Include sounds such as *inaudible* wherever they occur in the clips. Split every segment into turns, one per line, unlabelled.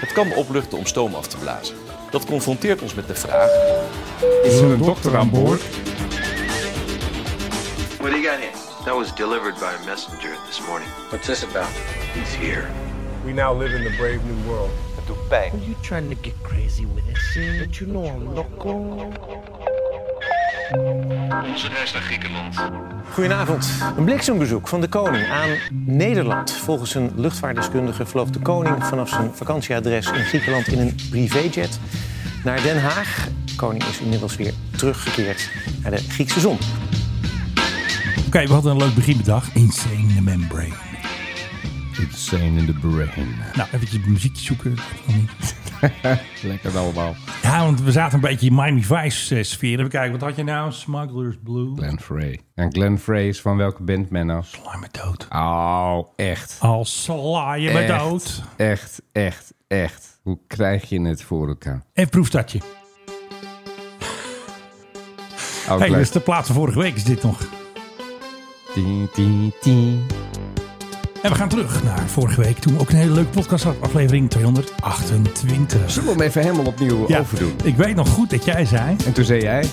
Het kan opluchten om stoom af te blazen. Dat confronteert ons met de vraag...
Is er een dokter aan boord?
What do you got here? That was delivered by a messenger this morning. What's this about? He's here.
We now live in the brave new world.
Are you trying to get crazy with this? But you know I'm loco.
Goedenavond. Een bliksembezoek van de koning aan Nederland. Volgens een luchtvaartdeskundige vloog de koning vanaf zijn vakantieadres in Griekenland in een privéjet naar Den Haag. De koning is inmiddels weer teruggekeerd naar de Griekse zon.
Oké, we hadden een leuk begin bedacht. Insane in the Membrane.
Insane in the brain.
Nou, eventjes muziekje zoeken.
Lekker allemaal.
Ja, want we zaten een beetje in Miami Vice eh, sfeer. Even kijken, wat had je nou? Smugglers Blue.
Glenn Frey. En Glenn Frey is van welke band, Menno?
Sla me dood.
Oh, echt.
Al sla je me
Echt.
dood.
Echt, echt, echt. Hoe krijg je het voor elkaar?
En proefstadje.
Ook
hey, dus
leuk.
dat is de plaats van vorige week is dit nog.
Tien, tien, tien.
En we gaan terug naar vorige week. Toen we ook een hele leuke podcast hadden. Aflevering 228.
Zullen we hem even helemaal opnieuw
Ja,
overdoen?
Ik weet nog goed dat jij zei.
En toen zei jij,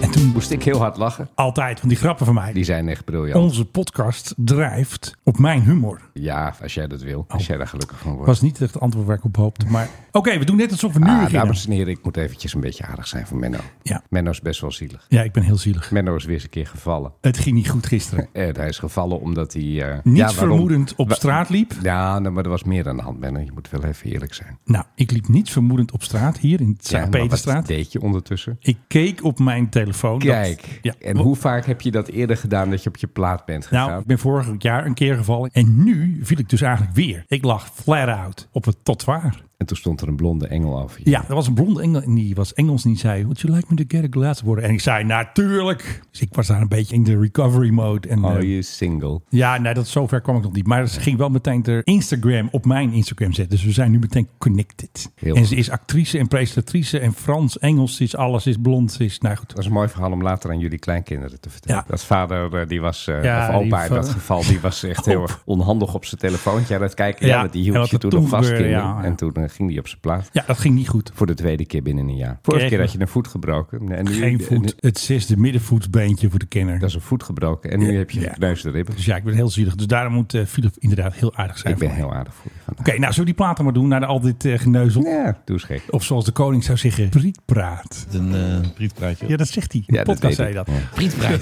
En toen
moest ik heel hard lachen.
altijd, want die grappen van mij.
Die zijn echt briljant.
Onze podcast drijft op mijn humor.
Ja, als jij dat wil. Als jij daar gelukkig van wordt.
Oh. Was niet echt het antwoord waar ik op hoopte. Maar oké, we doen net alsof we nu
ah,
beginnen.
dames en heren, ik moet eventjes een beetje aardig zijn voor Menno.
Ja.
Menno is best wel zielig.
ja, ik ben heel zielig.
Menno is weer eens een keer gevallen.
Het ging niet goed gisteren.
Eh, hij is gevallen omdat hij... eh,
Niet
ja, waarom?
vermoedend op
Wa-
straat liep.
Ja, nou, maar er was meer aan de hand, Menno. Je moet wel even eerlijk zijn.
Nou, ik liep niet vermoedend op straat hier in
Ja, maar
Sint-Peterstraat.
Wat deed je ondertussen?
ik keek op mijn telefoon. Dat-
Kijk,
ja.
en hoe vaak heb je dat eerder gedaan dat je op je plaat bent gegaan?
Nou, ik ben vorig jaar een keer gevallen. En nu viel ik dus eigenlijk weer. Ik lag flat out op het trottoir.
En toen stond er een blonde engel af. je.
Ja, er was een blonde engel en die was Engels en die zei... Would you like me to get a glass of water? En ik zei, natuurlijk. Dus ik was daar een beetje in de recovery mode. En,
Oh,
eh,
je is single.
Ja, nee, dat zover kwam ik nog niet. Maar ze ging wel meteen ter Instagram op mijn Instagram zetten. Dus we zijn nu meteen connected.
Heel
en
goed.
ze is actrice en presentatrice en Frans, Engels, ze is alles, ze is blond, ze is... Nou goed,
Dat is een mooi verhaal om later aan jullie kleinkinderen te vertellen.
Ja.
Dat vader, eh, die was, eh, of
Ja,
opa
die
in dat
va-
geval, die was
*laughs*
echt heel erg onhandig op zijn telefoontje aan het kijken. Ja,
Ja,
dat die
en
hield
wat
je
er
toen
toen
nog vast,
gebeurde,
kinderen.
ja, ja.
En toen eh, ging die op zijn plaat.
ja, dat ging niet goed.
Voor de tweede keer binnen een jaar. Vorige
Kijk,
keer had
maar-
je een voet gebroken. En nu,
Geen
en-
voet, het zesde middenvoetsbeentje voor de kenner.
dat is een voet gebroken. En nu heb je
Ja.
gekneusde ribben.
Dus ja, ik ben heel zielig. Dus daarom moet eh, Philip inderdaad heel aardig zijn.
Ik ben
voor mij.
heel aardig voor je vandaag.
Oké, nou zullen we die platen maar doen naar al dit eh, geneuzel?
Ja, doe eens gek.
Of zoals de koning zou zeggen, prietpraat.
Een eh prietpraatje.
Ja, dat zegt hij. In de
Ja, dat
podcast
weet
zei
ik.
dat. *laughs*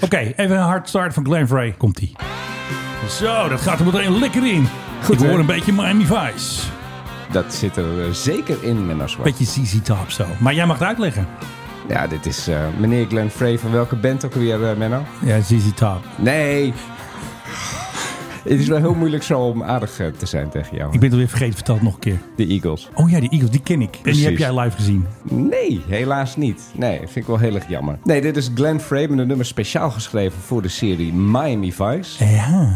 Oké, even een hard start van Glenn Frey. Komt ie. Zo, dat gaat er meteen lekker in. ik
hè?
hoor een beetje Miami Vice.
Dat zit er eh, zeker in, Menno Zwart.
Beetje ZZ Top zo. Maar jij mag het uitleggen.
Ja, dit is eh, meneer Glenn Frey van welke band ook weer, eh, Menno?
Ja, ZZ Top.
Nee! Het is wel heel moeilijk zo om aardig eh, te zijn tegen jou.
Ik ben het alweer vergeten, vertel het nog een keer.
De Eagles.
Oh ja, die Eagles, die ken ik. En
Precies.
die heb jij live gezien.
Nee, helaas niet. Nee, vind ik wel heel erg jammer. Nee, dit is Glenn Frey met een nummer speciaal geschreven voor de serie Miami Vice.
Ja.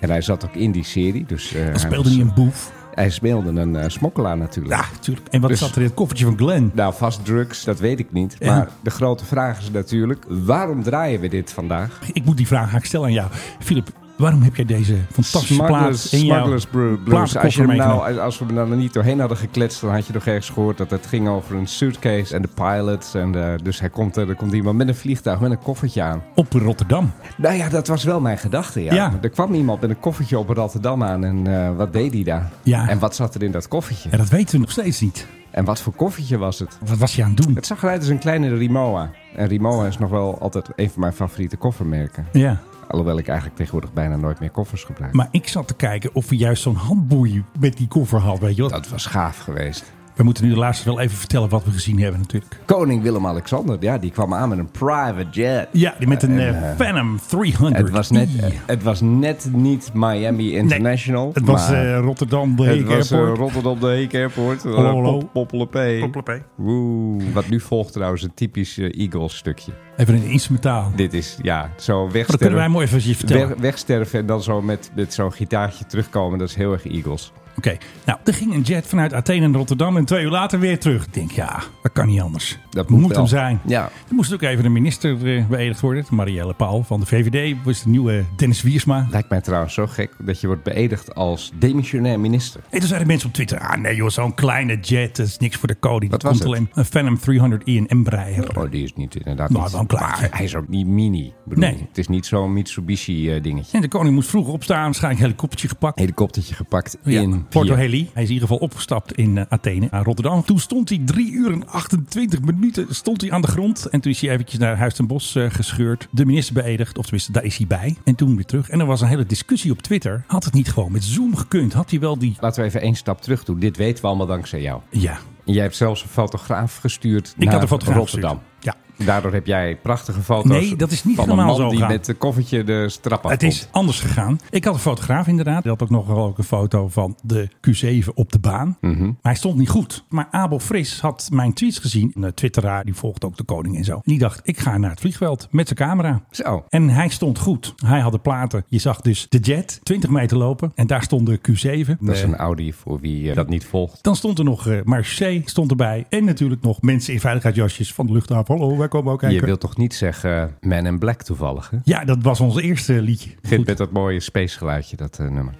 En hij zat ook in die serie, dus... eh,
Dan speelde
was-
hij een boef.
Hij speelde een eh, smokkelaar natuurlijk.
Ja, natuurlijk. En wat
Dus-
zat er in het koffertje van Glenn?
Nou, vast drugs, dat weet ik niet.
Ja.
Maar de grote vraag is natuurlijk, waarom draaien we dit vandaag?
Ik moet die vraag gaan stellen aan jou. Philip, waarom heb jij deze fantastische plaat in jouw
Smugglers Bru- Blues. Als, je
platenkoffer
hem
meegenomen?
nou, als we hem nou niet doorheen hadden gekletst, dan had je nog ergens gehoord dat het ging over een suitcase en de pilots. En eh, dus hij komt, eh, er komt iemand met een vliegtuig, met een koffertje aan.
Op Rotterdam.
Nou ja, dat was wel mijn gedachte. Ja.
Ja.
Er kwam iemand met een koffertje op Rotterdam aan en eh, wat deed hij daar?
Ja.
En wat zat er in dat koffertje?
Ja, dat weten we nog steeds niet.
En wat voor koffertje was het?
Wat was hij aan het doen?
Het zag eruit als een kleine Rimowa. En Rimowa is nog wel altijd een van mijn favoriete koffermerken.
Ja.
Alhoewel ik eigenlijk tegenwoordig bijna nooit meer koffers gebruik.
Maar ik zat te kijken of we juist zo'n handboei met die koffer had. Weet je wat?
Dat was gaaf geweest.
We moeten nu de laatste wel even vertellen wat we gezien hebben natuurlijk.
Koning Willem-Alexander, ja, die kwam aan met een private jet.
Ja, die met een
En,
eh,
eh,
Phantom 300.
Het was, net, het was net niet Miami International.
het was
maar
eh, Rotterdam, de
het
Heek
was eh,
Airport.
Rotterdam de Heek Airport.
Hallo, hallo.
Pop- Poppelepee. Woe. Wat nu volgt trouwens een typisch eh, Eagles stukje.
even een instrumentaal.
Dit is, ja, zo
dat Oh, kunnen wij
wegsterven.
mooi even vertellen.
Weg- wegsterven en dan zo met, met zo'n gitaartje terugkomen. Dat is heel erg Eagles.
Oké, Nou, er ging een jet vanuit Athene naar Rotterdam en twee uur later weer terug. Ik denk, ja, dat kan niet anders.
Dat
moet,
moet wel.
hem zijn.
Ja.
Er moest ook even de minister eh, beëdigd worden. Marielle Paal van de VVD was de nieuwe Dennis Wiersma.
Lijkt mij trouwens zo gek dat je wordt beëdigd als demissionair minister.
En toen zeiden mensen op Twitter, ah nee joh, zo'n kleine jet, dat is niks voor de koning.
Wat
Dat
was
komt alleen een Phantom 300 i en Embraer.
Oh, die is niet inderdaad.
Nou,
niet-
wel een kleintje.
Maar hij is ook niet mini. Ik Bedoel,
Nee.
Het is niet zo'n eh, Mitsubishi-dingetje.
En de koning moest vroeg opstaan, waarschijnlijk een helikoptertje gepakt.
Helikoptertje gepakt
Ja,
in
Porto
vier.
Heli. Hij is in ieder geval opgestapt in eh, Athene, aan Rotterdam. Toen stond hij 3 uur en 28 minuten stond hij aan de grond. En toen is hij eventjes naar Huis ten Bosch eh, gescheurd. De minister beëdigd, of tenminste, daar is hij bij. En toen weer terug. En er was een hele discussie op Twitter. Had het niet gewoon met Zoom gekund? Had hij wel die...
Laten we even één stap terug doen. Dit weten we allemaal dankzij jou.
Ja,
En jij hebt zelfs een fotograaf gestuurd
ik
naar
had een fotograaf
Rotterdam.
gestuurd. Ja,
Daardoor heb jij prachtige foto's
Nee, dat is niet
van
helemaal
een man
zo
die
gegaan.
met een koffertje de strap afkomt.
Het is anders gegaan. Ik had een fotograaf inderdaad. Die had ook nog wel ook een foto van de Q7 op de baan.
Mhm.
Maar hij stond niet goed. Maar Abel Fris had mijn tweets gezien. Een eh, twitteraar, die volgt ook de koning en zo. En die dacht, ik ga naar het vliegveld met zijn camera.
Zo.
En hij stond goed. Hij had de platen. Je zag dus de jet 20 meter lopen. En daar stond de Q7.
Dat is
Eh,
een Audi voor wie eh, dat niet volgt.
dan stond er nog eh Marseille stond erbij. En natuurlijk nog mensen in veiligheidsjasjes van de luchthaven. Hallo, wij komen ook
Je
kijken.
wilt toch niet zeggen eh, Man in Black toevallig, hè?
Ja, dat was ons eerste liedje.
Goed. Met dat mooie space geluidje, dat eh, nummer.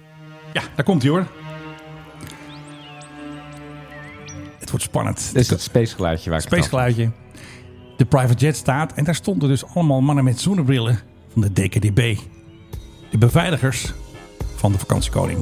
Ja, daar komt hij hoor. Het wordt spannend.
Dat is het space geluidje waar ik het
Space geluidje. De private jet staat en daar stonden dus allemaal mannen met zonnebrillen van de DKDB. De beveiligers van de vakantiekoning.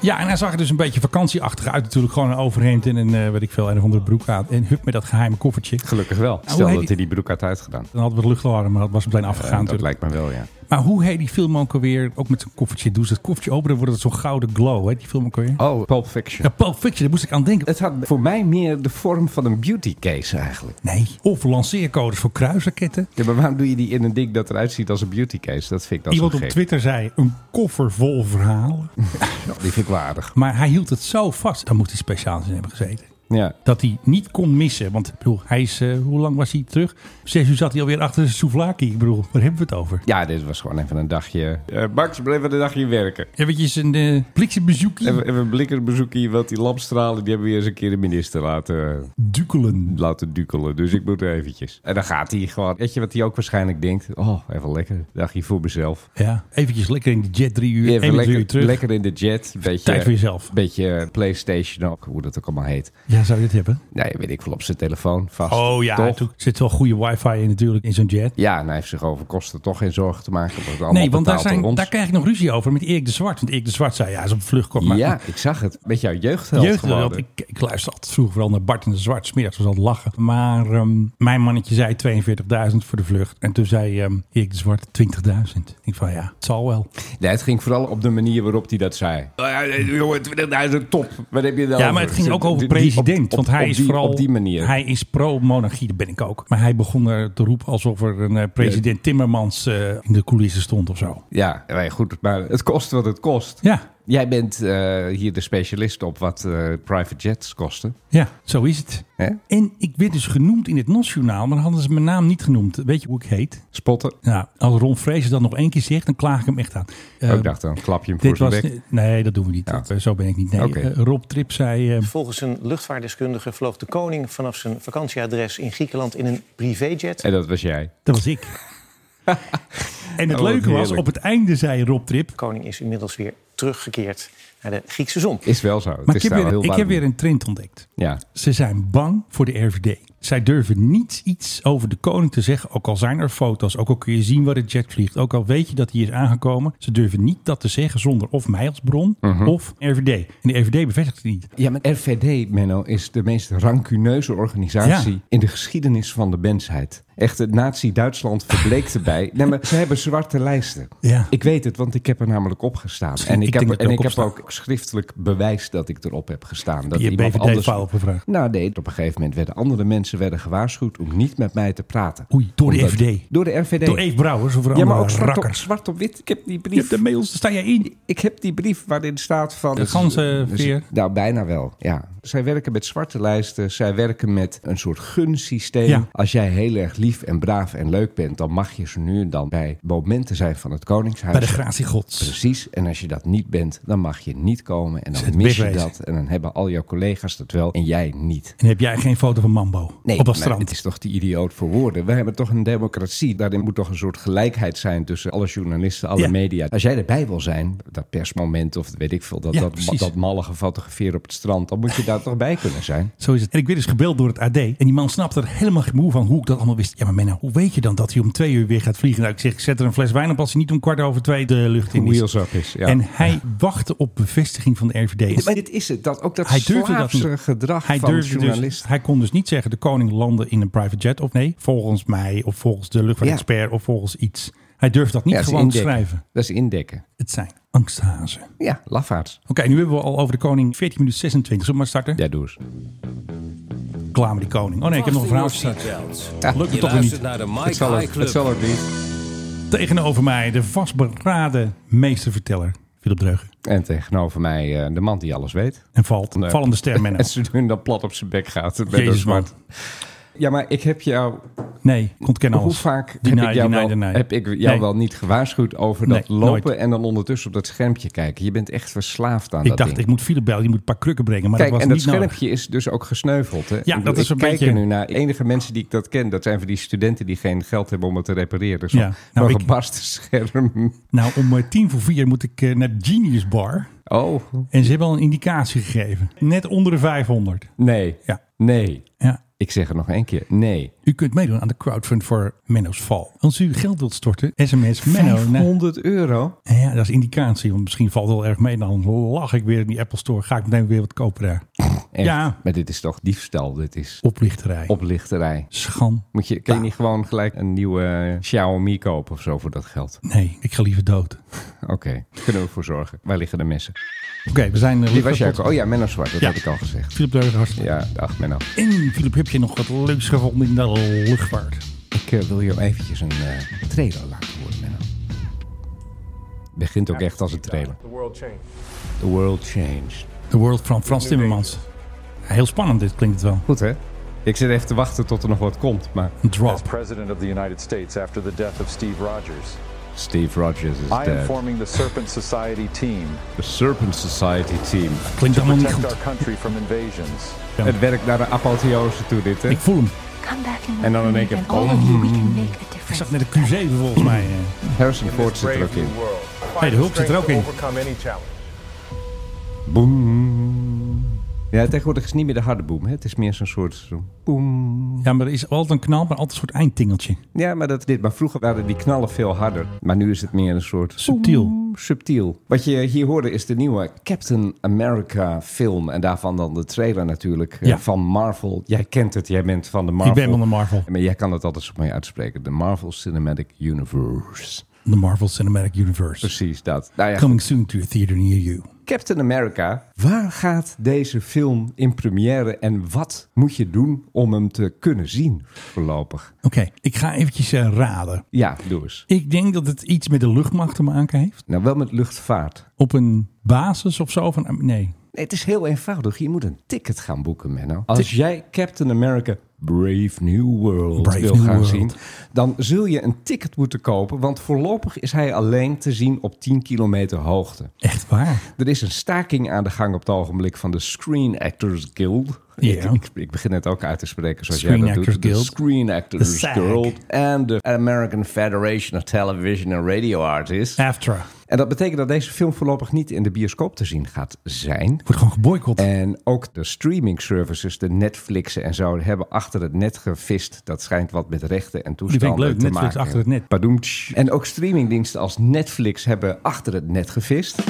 Ja, en hij zag er dus een beetje vakantieachtig uit. Natuurlijk gewoon een overhemd en een, eh weet ik veel, een of andere broek aan. En hup met dat geheime koffertje.
had. Gelukkig wel.
hoe
Stel
heet
dat
die-
hij die broek had uitgedaan.
Dan hadden we het luchtalarm, maar dat was meteen afgegaan.
Eh, dat
natuurlijk.
lijkt me wel, ja.
Maar hoe heet die film ook alweer? Ook met zijn koffertje. Doen ze het koffertje open, dan wordt het zo'n gouden glow. Hè? Die film ook alweer.
Oh, Pulp Fiction.
Ja, Pulp Fiction, daar moest ik aan denken.
Het had voor mij meer de vorm van een beauty case eigenlijk.
Nee. Of lanceercodes voor kruisraketten.
Ja, maar waarom doe je die in een ding dat eruit ziet als een beauty case? Dat vind ik dan
Iemand
zo
op
gek.
Twitter zei een koffer vol verhalen.
Die vind ik waardig.
Maar hij hield het zo vast. Dan moet hij speciaal in hebben gezeten.
Ja.
Dat hij niet kon missen. Want ik bedoel, hij is, eh, hoe lang was hij terug? Zes uur zat hij alweer achter zijn souvlaki. Ik bedoel, waar hebben we het over?
ja, dit was gewoon even een dagje... Eh Max, blijf even een dagje werken.
Eventjes een eh bliksembezoekje.
Even, even een blikkerbezoekje, want die lampstralen die hebben weer eens een keer de minister laten, eh,
Dukelen.
laten dukelen. Dus ik moet er eventjes. En dan gaat hij gewoon. Weet je wat hij ook waarschijnlijk denkt? Oh, even lekker. Dagje voor mezelf.
Ja, eventjes lekker in de jet drie uur.
Even
Even
lekker,
uur terug.
lekker in de jet. Beetje,
Tijd voor jezelf.
Beetje eh, PlayStation ook, hoe dat ook allemaal heet.
Ja, zou je dat hebben?
Nee, weet ik veel, op zijn telefoon vast.
Oh ja,
toch?
er zit wel goede wifi in natuurlijk in zo'n jet.
Ja, en hij heeft zich over kosten toch geen zorgen te maken. Dat wordt allemaal
Nee, want daar,
betaald door
zijn,
ons.
daar krijg ik nog ruzie over met Erik de Zwart. Want Erik de Zwart zei, ja, hij is op de vlucht. Kom, maar
Ja, ik zag het. Met jouw jeugdheld
jeugdheld.
geworden.
Ik, ik luister altijd vroeger vooral naar Bart en de Zwart. Smiddags was altijd lachen. Maar ehm, mijn mannetje zei 42.000 voor de vlucht. En toen zei ehm Erik de Zwart 20.000. Ik denk van ja, het zal wel.
Nee, het ging vooral op de manier waarop hij dat zei. Oh ja, nee, jongen, 20.000 top. Wat heb je dan?
Ja, maar het ging ook over president. want hij is vooral.
Op die manier.
Hij is pro-monarchie, dat ben ik ook. Maar hij begon er te roepen alsof er een eh, president Timmermans eh, in de coulissen stond of zo.
Ja, nee, goed. Maar het kost wat het kost.
Ja,
Jij bent eh, hier de specialist op wat eh, private jets kosten.
ja, zo is het.
Hè?
En ik werd dus genoemd in het NOS-journaal, maar dan hadden ze mijn naam niet genoemd. Weet je hoe ik heet?
Spotten.
Nou, als Ron Vrezen dat nog één keer zegt, dan klaag ik hem echt aan. Eh,
ik dacht, dan klap je hem voor
dit
zijn
was,
bek.
nee, dat doen we niet.
Ja.
Dat, eh, Zo ben ik niet. Nee.
Oké.
Eh, Rob Trip zei... eh,
Volgens een luchtvaartdeskundige vloog de koning vanaf zijn vakantieadres in Griekenland in een privéjet.
En dat was jij.
dat was
*laughs*
ik. en het
Oh, wat
leuke was,
heerlijk.
op het einde zei Rob Trip...
De koning is inmiddels weer teruggekeerd naar de Griekse zon.
Is wel zo.
Maar
het
ik
is
heb,
daar
weer,
heel
ik
warm.
heb weer een trend ontdekt.
Ja,
Ze zijn bang voor de RVD. Zij durven niets iets over de koning te zeggen. Ook al zijn er foto's, ook al kun je zien waar de jet vliegt. Ook al weet je dat hij is aangekomen. Ze durven niet dat te zeggen zonder of mij als bron
Mhm.
of RVD. En de RVD bevestigt het niet.
ja maar RVD, Menno, is de meest rancuneuze organisatie
Ja.
in de geschiedenis van de mensheid. Echt, het nazi-Duitsland verbleekt *laughs* erbij. Nee, maar ze hebben zwarte lijsten.
Ja.
Ik weet het, want ik heb er namelijk op
*laughs*
gestaan. En ik,
ik
heb,
denk dat
en ik
ik ook
heb
opsta.
ook schriftelijk bewijs dat ik erop heb gestaan. Dat
Je
iemand anders...
BVD-file opgevraagd.
Nou nee, op een gegeven moment werden andere mensen werden gewaarschuwd om niet met mij te praten.
Oei, door de
Omdat-
FD.
Door de RVD.
Door Eve Brouwers of een
ja, maar
andere
ook zwart op,
rakkers.
zwart op wit. Ik heb die
Je hebt
brief.
de mails, daar sta jij in.
Ik heb die brief waarin staat van...
De ganzenveer.
Nou, bijna wel, ja. Zij werken met zwarte lijsten. Zij werken met een soort gunsysteem.
Ja.
Als jij heel erg lief en braaf en leuk bent, dan mag je ze nu en dan bij momenten zijn van het Koningshuis.
Bij de gratie gods.
Precies. En als je dat niet bent, dan mag je niet komen. En dan
Het
mis je
wegwezen.
dat. En dan hebben al jouw collega's dat wel en jij niet.
En heb jij geen foto van Mambo op dat
maar
strand?
het is toch te idioot voor woorden. We hebben toch een democratie. Daarin moet toch een soort gelijkheid zijn tussen alle journalisten, alle
Ja.
media. Als jij erbij wil zijn, dat persmoment of weet ik veel, dat,
Ja,
dat,
precies.
dat mallige fotograferen op het strand, dan moet je daar toch bij kunnen zijn.
Zo is het. En ik werd dus gebeld door het AD. En die man snapt er helemaal geen moe van hoe ik dat allemaal wist. Ja, maar Menno, hoe weet je dan dat hij om twee uur weer gaat vliegen? Nou, ik zeg, ik zet er een fles wijn op als hij niet om kwart over twee de lucht in
Hoe
is.
heel zak is, ja.
En hij wachtte op bevestiging van de RVD.
Maar dit is het. Dat, ook dat
Hij durfde dat
slaafse
niet.
gedrag
Hij
van
durfde dus,
journalisten.
hij kon dus niet zeggen: de koning landde in een private jet of nee, volgens mij of volgens de luchtvaartexpert of volgens iets. Hij durfde dat niet
Ja, dat is
gewoon te
indekken.
schrijven.
Dat is indekken.
Het zijn angsthazen. Oké,
Ja, lafaards.
nu hebben we al over de koning 14 minuten 26. Zullen we maar starten?
Ja, doe eens.
Klaar met die koning. Oh nee, ik heb nog een verhaal gestart. Lukt het toch weer niet.
naar de
Het zal, ook, het zal ook niet.
Tegenover mij de vastberaden meesterverteller Philip Dreugen.
En tegenover mij eh, de man die alles weet.
En valt,
Nee.
vallende ster
*laughs*
Menno.
En ze doen dat plat op zijn bek gaat. Met een
Jezus man.
zwart. Ja, maar ik heb jou
Nee, ik ontken alles.
Hoe vaak
Deny,
heb ik jou,
deny,
wel,
deny.
Heb ik jou
Nee.
wel niet gewaarschuwd over dat
Nee,
lopen
nooit.
en dan ondertussen op dat schermpje kijken? Je bent echt verslaafd aan
Ik
dat
dacht,
ding.
ik moet Philip bellen, die moet een paar krukken brengen. Maar
Kijk,
dat was
en dat
niet nodig.
schermpje is dus ook gesneuveld. Hè? Ik bedoel,
dat is
ik
een
kijk
beetje-
er nu naar. De enige mensen die ik dat ken, dat zijn van die studenten die geen geld hebben om het te repareren. Dus
Ja.
ja.
Nou, ik-
gebarsten
*laughs*
scherm.
Nou, om eh, tien voor vier moet ik eh, naar Genius Bar.
Oh,
En ze hebben al een indicatie gegeven. Net onder de 500.
nee.
Ja.
Nee.
Ja.
Ik zeg het nog één keer. Nee.
U kunt meedoen aan de crowdfund voor Menno's val. Als u geld wilt storten, sms Menno. naar-
500 euro?
ja, dat is indicatie. Want misschien valt het wel erg mee. Dan lach ik weer in die Apple Store. Ga ik meteen weer wat kopen daar.
Echt.
Ja.
Maar dit is toch diefstal? Dit is
Oplichterij.
oplichterij.
Schan.
Moet je, kan je niet gewoon gelijk een nieuwe eh, Xiaomi kopen of zo voor dat geld?
Nee, ik ga liever dood. Oké,
Oké, daar kunnen we voor zorgen. Waar liggen de messen?
we zijn...
Wie was jij ook? Oh ja, Menno Zwart, dat
Ja.
heb ik al gezegd.
Philip Deugen, hartstikke.
Ja, dag Menno.
En Philip, heb je nog wat leuks gevonden in de luchtvaart?
Ik eh, wil jou eventjes een eh, trailer laten horen, Menno. Begint ook echt als een trailer.
The world changed.
The world changed.
The World van Frans Timmermans. Heel spannend dit klinkt het wel.
Goed hè? Ik zit even te wachten tot er nog wat komt, maar
Een drop.
President of the United States after the death of Steve Rogers.
Steve Rogers is
I am
dead.
forming the Serpent Society team
The Serpent Society team.
Klinkt
to
allemaal niet
protect our
goed.
country from invasions.
Het werkt naar de apotheose toe dit hè?
Ik voel hem.
Come back in
En dan in één keer,
and all of you, we can make a
Ik zag
difference.
net de Q7 volgens mij. eh.
Harrison Ford
This
zit er
brave
ook in.
new world.
Hey, de Hulk zit er ook
Find the
in.
strength to overcome any challenge.
Boem. Ja, tegenwoordig is het niet meer de harde boem. Hè? Het is meer zo'n soort zo'n boem.
Ja, maar er is altijd een knal, maar altijd een soort eindtingeltje.
Ja, maar, dat, dit, maar vroeger waren die knallen veel harder. Maar nu is het meer een soort
Subtiel.
boem, subtiel. Wat je hier hoorde is de nieuwe Captain America film. En daarvan dan de trailer natuurlijk eh,
Ja.
van Marvel. Jij kent het, jij bent van de Marvel.
Ik ben van de Marvel.
Maar jij kan het altijd zo mooi uitspreken. De Marvel Cinematic Universe.
The Marvel Cinematic Universe.
Precies dat. Nou ja,
Coming soon to a theater near you.
Captain America, waar gaat deze film in première en wat moet je doen om hem te kunnen zien voorlopig?
Oké, ik ga eventjes eh, raden.
Ja, doe eens.
Ik denk dat het iets met de luchtmacht te maken heeft.
Nou, wel met luchtvaart.
Op een basis of zo van... eh, Nee,
Nee, het is heel eenvoudig. Je moet een ticket gaan boeken, Menno. Als jij Captain America Brave New World
Brave
wil
New
gaan
World.
zien, dan zul je een ticket moeten kopen, want voorlopig is hij alleen te zien op 10 kilometer hoogte.
echt waar.
Er is een staking aan de gang op het ogenblik van de Screen Actors Guild.
Ja.
Ik, ik, ik begin het ook uit te spreken zoals
Screen
jij dat
Actors
doet. De
Guild.
Screen
De
Actors
SAG.
Guild. En de American Federation of Television and Radio Artists.
Aftra.
En dat betekent dat deze film voorlopig niet in de bioscoop te zien gaat zijn.
Wordt gewoon geboycott.
En ook de streaming services, de Netflixen en zo, hebben achter het net gevist. Dat schijnt wat met rechten en
ik
toestanden
leuk,
te
Netflix
maken.
achter het net.
Badoemtsch. En ook streamingdiensten als Netflix hebben achter het net gevist.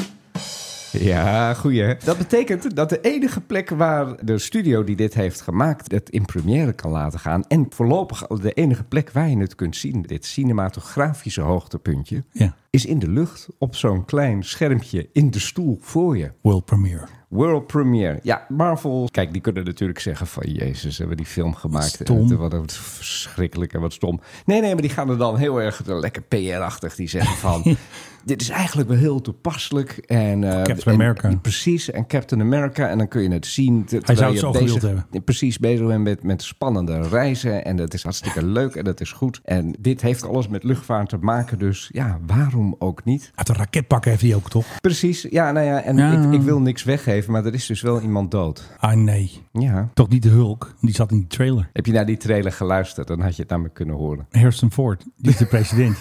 Ja, goeie. hè? Dat betekent dat de enige plek waar de studio die dit heeft gemaakt het in première kan laten gaan. En voorlopig de enige plek waar je het kunt zien, dit cinematografische hoogtepuntje,
Ja.
is in de lucht op zo'n klein schermpje in de stoel voor je.
World premiere.
World premiere. Ja, Marvel. Kijk, die kunnen natuurlijk zeggen van... Jezus, hebben we die film gemaakt.
stom.
Eh, Wat, wat verschrikkelijk en wat stom. Nee, nee, maar die gaan er dan heel erg eh, lekker PR-achtig. Die zeggen
*laughs*
van... dit is eigenlijk wel heel toepasselijk. En, eh,
Captain
en-
America.
en precies, en Captain America. En dan kun je het zien. te- terwijl
zou het
je
zo
bezig,
gewild hebben.
Precies, bezig bent met, met spannende reizen. En dat is hartstikke leuk en dat is goed. En dit heeft alles met luchtvaart te maken. Dus ja, waarom ook niet?
Uit een raketpak heeft hij ook, toch?
Precies, ja, nou ja. En
Ja.
Ik, ik wil niks weggeven, maar er is dus wel iemand dood.
Ah, nee.
Ja.
Toch niet de Hulk. Die zat in die trailer.
Heb je naar die trailer geluisterd, dan had je het namelijk kunnen horen.
Harrison Ford. Die is de
*laughs*
president.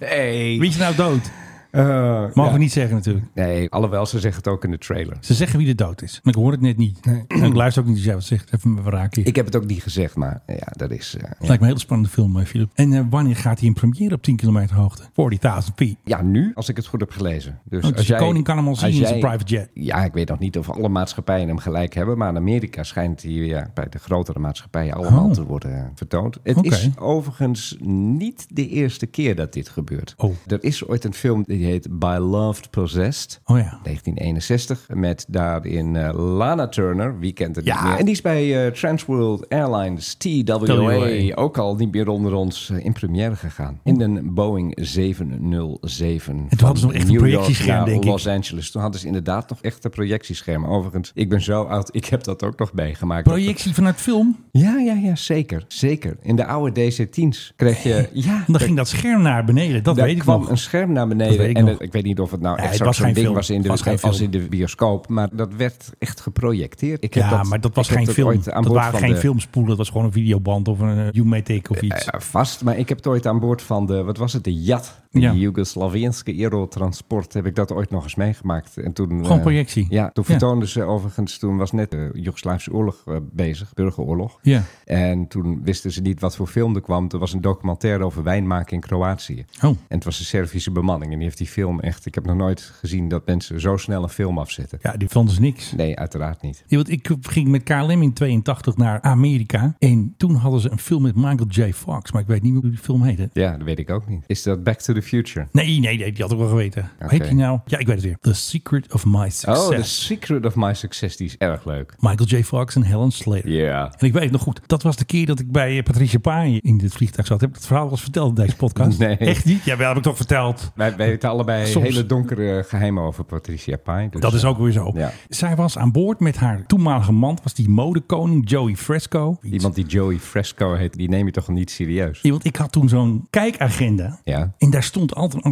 Nee.
Wie is nou dood? Mogen we niet zeggen natuurlijk.
Eh, Nee, alhoewel ze zeggen het ook in de trailer.
Ze zeggen wie de dood is. Maar ik hoor het net niet. En ik luister ook niet als jij wat zegt. Even me verraken.
Ik heb het ook niet gezegd, maar ja, dat is... eh,
Het lijkt me een hele spannende film, eh, Philip. En eh, wanneer gaat hij in première op 10 kilometer hoogte? 40.000 feet.
ja, nu, als ik het goed heb gelezen. Dus
Oh, dus
als
de
jij,
koning kan hem al
als
zien in
jij-
zijn private jet.
Ja, ik weet nog niet of alle maatschappijen hem gelijk hebben. Maar in Amerika schijnt hij ja, bij de grotere maatschappijen allemaal
Oh.
te worden vertoond. Het
Oké.
is overigens niet de eerste keer dat dit gebeurt.
Oh.
Er is ooit een film die heet By Loved Possessed.
Oh ja.
1961 met daarin eh, Lana Turner. Wie kent het
Ja.
niet meer? En die is bij eh, Transworld Airlines TWA,
TWA.
ook al niet meer onder ons eh, in première gegaan. In een Boeing 707. En
hadden ze nog echt een projectiescherm, denk ik.
Los Angeles. Toen hadden ze inderdaad nog echt een projectiescherm. Overigens, ik ben zo oud, ik heb dat ook nog meegemaakt.
Projectie vanuit film.
Ja, ja, ja, zeker. Zeker. In de oude DC-10's kreeg je...
*laughs*
Ja,
En dan ging dat scherm naar beneden. Dat
daar
weet ik
kwam
nog.
een scherm naar beneden.
Dat weet ik
en
nog.
het- ik weet niet of het nou
Nee,
echt
het
zo'n
was
zo'n
geen
ding
film.
was in, de,
Het was geen
als
film.
in de bioscoop. Maar dat werd echt geprojecteerd. Ik heb
Ja, maar dat was
ik heb
geen film.
ooit aan
Dat
boord
waren
van
geen
de-
filmspoelen. Dat was gewoon een videoband of een uh, U-Matic of iets.
eh, vast, maar ik heb het ooit aan boord van de, wat was het, de JAT. De
Ja.
Joegoslavienske Aerotransport heb ik dat ooit nog eens meegemaakt. En toen,
Gewoon
eh,
projectie.
Ja, toen
Ja.
vertoonden ze overigens, toen was net de Joegoslavische oorlog eh, bezig, burgeroorlog.
Ja.
En toen wisten ze niet wat voor film er kwam. Er was een documentaire over wijnmaken in Kroatië.
Oh.
En het was een Servische bemanning. En die heeft die film echt... Ik heb nog nooit gezien dat mensen zo snel een film afzetten.
Ja, die vonden ze niks.
Nee, uiteraard niet.
Ja, want ik ging met KLM in 82 naar Amerika. En toen hadden ze een film met Michael J. Fox. Maar ik weet niet meer hoe die film heette.
Ja, dat weet ik ook niet. Is dat Back to the Future?
Nee, nee, nee, die had ik wel geweten. Hoe heet
Oké.
die nou? Ja, ik weet het weer. The Secret of My Success.
Oh, The Secret of My Success. Die is erg leuk.
Michael J. Fox en Helen Slater.
Ja.
En ik weet nog goed, dat was de keer dat ik bij eh, Patricia Paaien in dit vliegtuig zat. Heb ik het verhaal wel eens verteld in deze
*laughs*
podcast?
Nee.
Echt niet? Ja, wel heb ik toch verteld.
Wij weten allebei
Soms.
hele donkere geheimen over Patricia Pai. Dus,
Dat is ook weer zo.
Ja.
Zij was aan boord met haar toenmalige man, was die modekoning Joey Fresco.
Iemand die Joey Fresco heet, die neem je toch niet serieus?
Ja, want ik had toen zo'n kijkagenda.
Ja.
En daar stond altijd een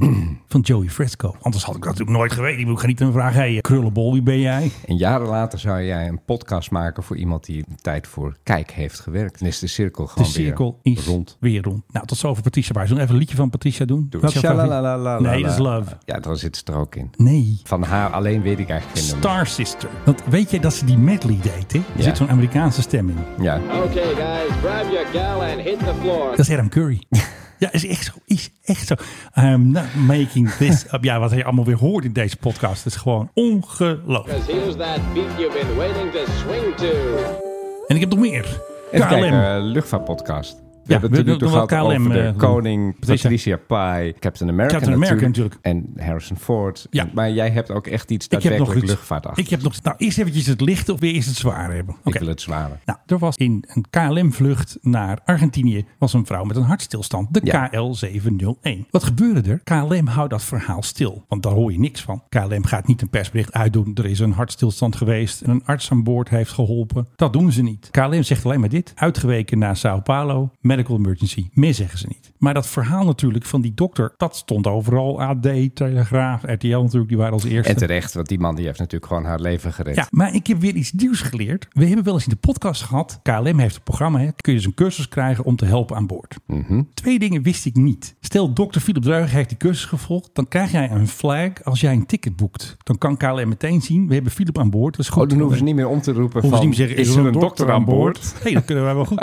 *clears throat*
in van Joey Fresco. Anders had ik dat natuurlijk nooit geweten. Ik ga niet hem vragen, hey, krullenbol, wie ben jij?
En jaren later zou jij een podcast maken voor iemand die een tijd voor kijk heeft gewerkt. Dan is de cirkel
De
gewoon
cirkel
weer
is
rond.
weer rond. Nou, tot zover Patricia Paaien. Zullen we even een liedje van Patricia doen?
Doe
Wat is jouw favoriet?
Shalalalalala.
Nee, dat is Love.
Ja, daar zit ze er ook in.
Nee.
Van haar alleen weet ik eigenlijk geen nummer.
Star Sister. Want weet jij dat ze die medley deed, hè? Er
Ja.
zit zo'n Amerikaanse stem in.
Ja,
Dat is Adam
*laughs*
Curry. ja, is echt zo. Is echt zo. I'm not making this
*laughs*
up. Ja, wat je allemaal weer hoort in deze podcast is gewoon ongelooflijk. En ik heb nog meer.
even kijken,
KLM.
eh, luchtvaartpodcast. We
Ja,
hebben
we-
het tot nu
we-
toe
we-
gehad
KLM,
over de
eh,
koning,
Patricia.
Patricia, Pai, Captain America,
Captain America
En Harrison Ford.
Ja.
Maar jij hebt ook echt iets
Ik heb nog
daadwerkelijk
iets.
luchtvaart achter.
Ik heb nog. Nou, eerst eventjes het lichte of weer eerst het zware hebben. Oké.
Ik wil het zware.
Nou, er was in een KLM-vlucht naar Argentinië was een vrouw met een hartstilstand, de
Ja.
KL701. Wat gebeurde er? KLM houdt dat verhaal stil, want daar hoor je niks van. KLM gaat niet een persbericht uitdoen. Er is een hartstilstand geweest en een arts aan boord heeft geholpen. Dat doen ze niet. KLM zegt alleen maar dit. Uitgeweken naar Sao Paulo, medical emergency. Meer zeggen ze niet. Maar dat verhaal natuurlijk van die dokter, dat stond overal. AD, Telegraaf, RTL natuurlijk, die waren als eerste.
En terecht, want die man die heeft natuurlijk gewoon haar leven gered.
Ja, maar ik heb weer iets nieuws geleerd. We hebben wel eens in de podcast gehad. KLM heeft een programma. Hè, kun je dus een cursus krijgen om te helpen aan boord.
Mhm.
Twee dingen wist ik niet. Stel, dokter Philip Dreuger heeft die cursus gevolgd. Dan krijg jij een flag als jij een ticket boekt. Dan kan KLM meteen zien. We hebben Philip aan boord. Dat is goed.
Oh, dan hoeven ze niet meer om te roepen van,
Hoeven ze niet meer zeggen,
is er een dokter aan boord? *laughs*
Nee, dat kunnen wij wel goed.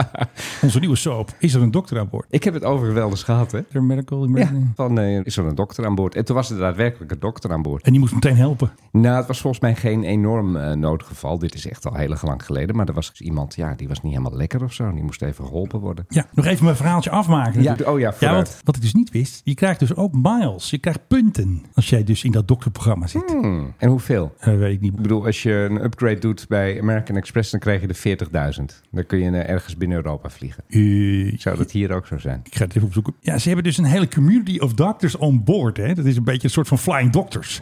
Onze nieuwe soap. Is er een dokter aan boord?
Ik heb het overigens wel elders gehad, hè?
Dr. Miracle.
Ja,
Emergency.
van eh, is er een dokter aan boord? En toen was er daadwerkelijk een dokter aan boord.
En die moest meteen helpen.
Nou, het was volgens mij geen enorm eh, noodgeval. Dit is echt al heel erg lang geleden. Maar er was dus iemand, ja, die was niet helemaal lekker of zo. Die moest even geholpen worden.
Ja, nog even mijn verhaaltje afmaken.
Ja,
natuurlijk.
oh ja,
ja
vooruit.
want wat ik dus niet wist, je krijgt dus ook miles. Je krijgt punten als jij dus in dat dokterprogramma zit.
Hmm, En hoeveel?
Eh, weet ik niet.
Ik bedoel, als je een upgrade doet bij American Express, dan krijg je er 40.000. Dan kun je eh, ergens binnen Europa vliegen.
Eh,
Zou dat hier ook zo zijn?
ik ga het even opzoeken. Ja, ze hebben dus een hele community of doctors on board. Hè? Dat is een beetje een soort van flying doctors.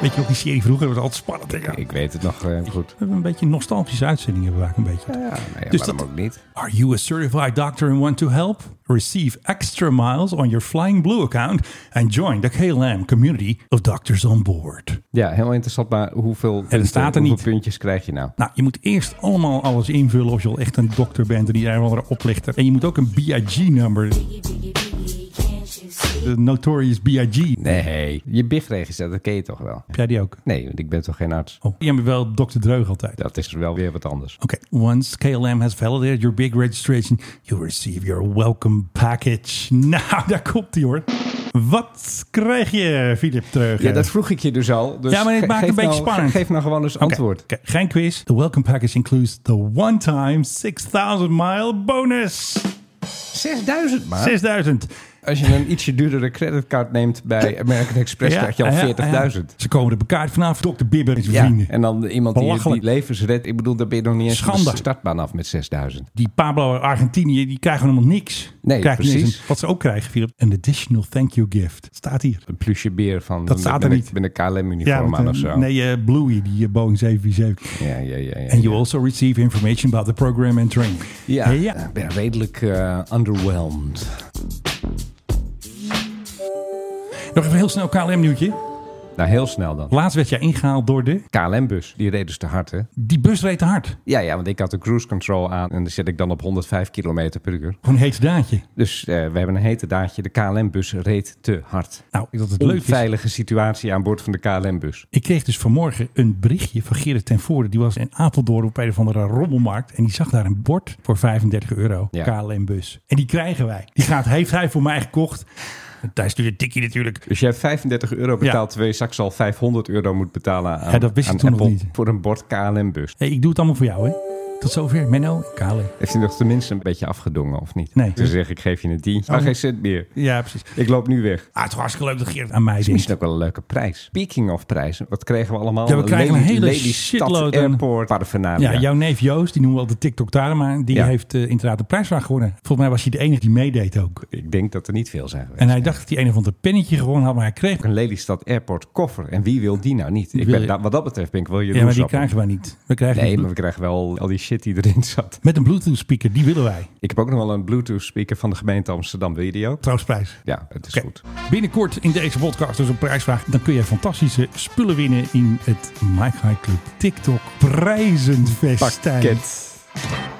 Weet je nog die serie vroeger? Dat was altijd spannend. hè? Ja.
Ik weet het nog eh, goed.
We hebben een beetje een nostalgische uitzending hebben we eigenlijk een beetje.
Ja, nou ja,
Dus
waarom
dat-
ook niet?
Are you a certified doctor and want to help? Receive extra miles on your Flying Blue account and join the KLM community of doctors on board.
Ja, heel interessant. Maar hoeveel, punten-
staat er
hoeveel
niet.
puntjes krijg je nou?
Nou, je moet eerst allemaal alles invullen of je al echt een dokter bent en niet een of andere oplichter. En je moet ook een BIG-number, de Notorious BIG.
Nee, je BIG-register, dat ken je toch wel?
Heb jij die ook?
Nee, want ik ben toch geen arts?
Oh, jij bent wel dokter Dreug altijd.
Dat is wel weer wat anders.
Oké, once KLM has validated your big registration, you'll receive your welcome package. *laughs* Nou, daar komt die hoor. Wat krijg je, Philip Treug?
Ja, dat vroeg ik je dus al. Dus
Ja, maar dit
ge-
maakt
geef
een beetje
nou-
spannend.
Geef nou gewoon eens antwoord.
Oké, oké, geen quiz. The welcome package includes the one-time 6000 mile bonus.
6000 maar.
6000.
Als je een ietsje duurdere creditcard neemt bij American Express, krijg je al
ja, ja.
40.000.
Ze komen er bekaart vanaf. Dokter Bibber en zijn
Ja,
vrienden.
en dan iemand die, die
Belachelijk.
levens redt. Ik bedoel, daar ben je nog niet eens
Schande.
van de startbaan af met 6000.
Die Pablo uit Argentinië, die krijgen helemaal niks.
Nee,
Krijgen niet eens
precies.
een- wat ze ook krijgen, Philip. An additional thank you gift. Staat hier.
Een plusje beer van
Dat staat er
met,
niet.
Met een KLM-uniform
met
aan
een-
of zo.
Nee, eh, Bluey, die eh, Boeing 747.
Ja, ja, ja. ja,
And you
ja.
also receive information about the program and training.
Ja,
ja.
ik ben redelijk eh, underwhelmed.
Nog even heel snel KLM-nieuwtje.
Nou, heel snel dan.
Laatst werd jij ingehaald door de...
KLM-bus, die reed dus te hard, hè?
Die bus reed te hard.
Ja, ja, want ik had de cruise control aan en die zet ik dan op 105 km per uur.
Gewoon een heet daadje.
Dus eh, we hebben een hete daadje. De KLM-bus reed te hard.
Nou, dat het leuk is.
Onveilige situatie aan boord van de KLM-bus.
Ik kreeg dus vanmorgen een berichtje van Gerrit ten Voorde. Die was in Apeldoorn op een of andere rommelmarkt. En die zag daar een bord voor 35 euro.
Ja.
KLM-bus. En die krijgen wij. Die gaat, heeft hij voor mij gekocht. Daar stuurde Dikkie natuurlijk.
Dus je hebt 35 euro betaald,
Ja.
terwijl je straks al 500 euro moet betalen aan,
Ja, dat wist ik
aan
toen nog
Apple
niet.
voor een bord KLM-bus.
Hey, ik doe het allemaal voor jou, hè. Tot zover, Menno en KLM.
Heeft hij nog tenminste een beetje afgedongen, of niet?
Nee.
Ze zeggen, ik geef je een tientje, maar
Oh.
geen cent meer.
Ja, precies.
Ik loop nu weg.
Ah, het is hartstikke leuk dat Gerrit aan mij
Is
denkt.
ook wel een leuke prijs. Speaking of prijzen, wat kregen we allemaal?
Ja, we krijgen een
Lely-
hele
Lelystad
shitload aan-
Airport paraphernalia.
Ja, jouw neef Joost, die noemen we al de tiktok daar, maar die
Ja.
heeft eh, inderdaad de prijsvraag gewonnen. Volgens mij was hij de enige die meedeed ook.
Ik denk dat er niet veel zijn geweest.
En hij dacht dat hij een of ander pennetje gewonnen had, maar hij kreeg
een Lelystad Airport koffer. En wie wil die nou niet? Ik
Wil
ben,
je-
da- wat dat betreft ben ik wel jaloers
Ja, maar die
op hem.
krijgen wij niet. We krijgen
Nee,
een
maar we krijgen wel al die shit die erin zat.
Met een Bluetooth speaker, die willen wij.
Ik heb ook nog wel een Bluetooth speaker van de gemeente Amsterdam. Wil je die ook?
Troostprijs.
Ja, het is
Oké.
goed.
Binnenkort in deze podcast dus een prijsvraag. Dan kun je fantastische spullen winnen in het Mike High Club TikTok prijzenfestijn.
Pakket.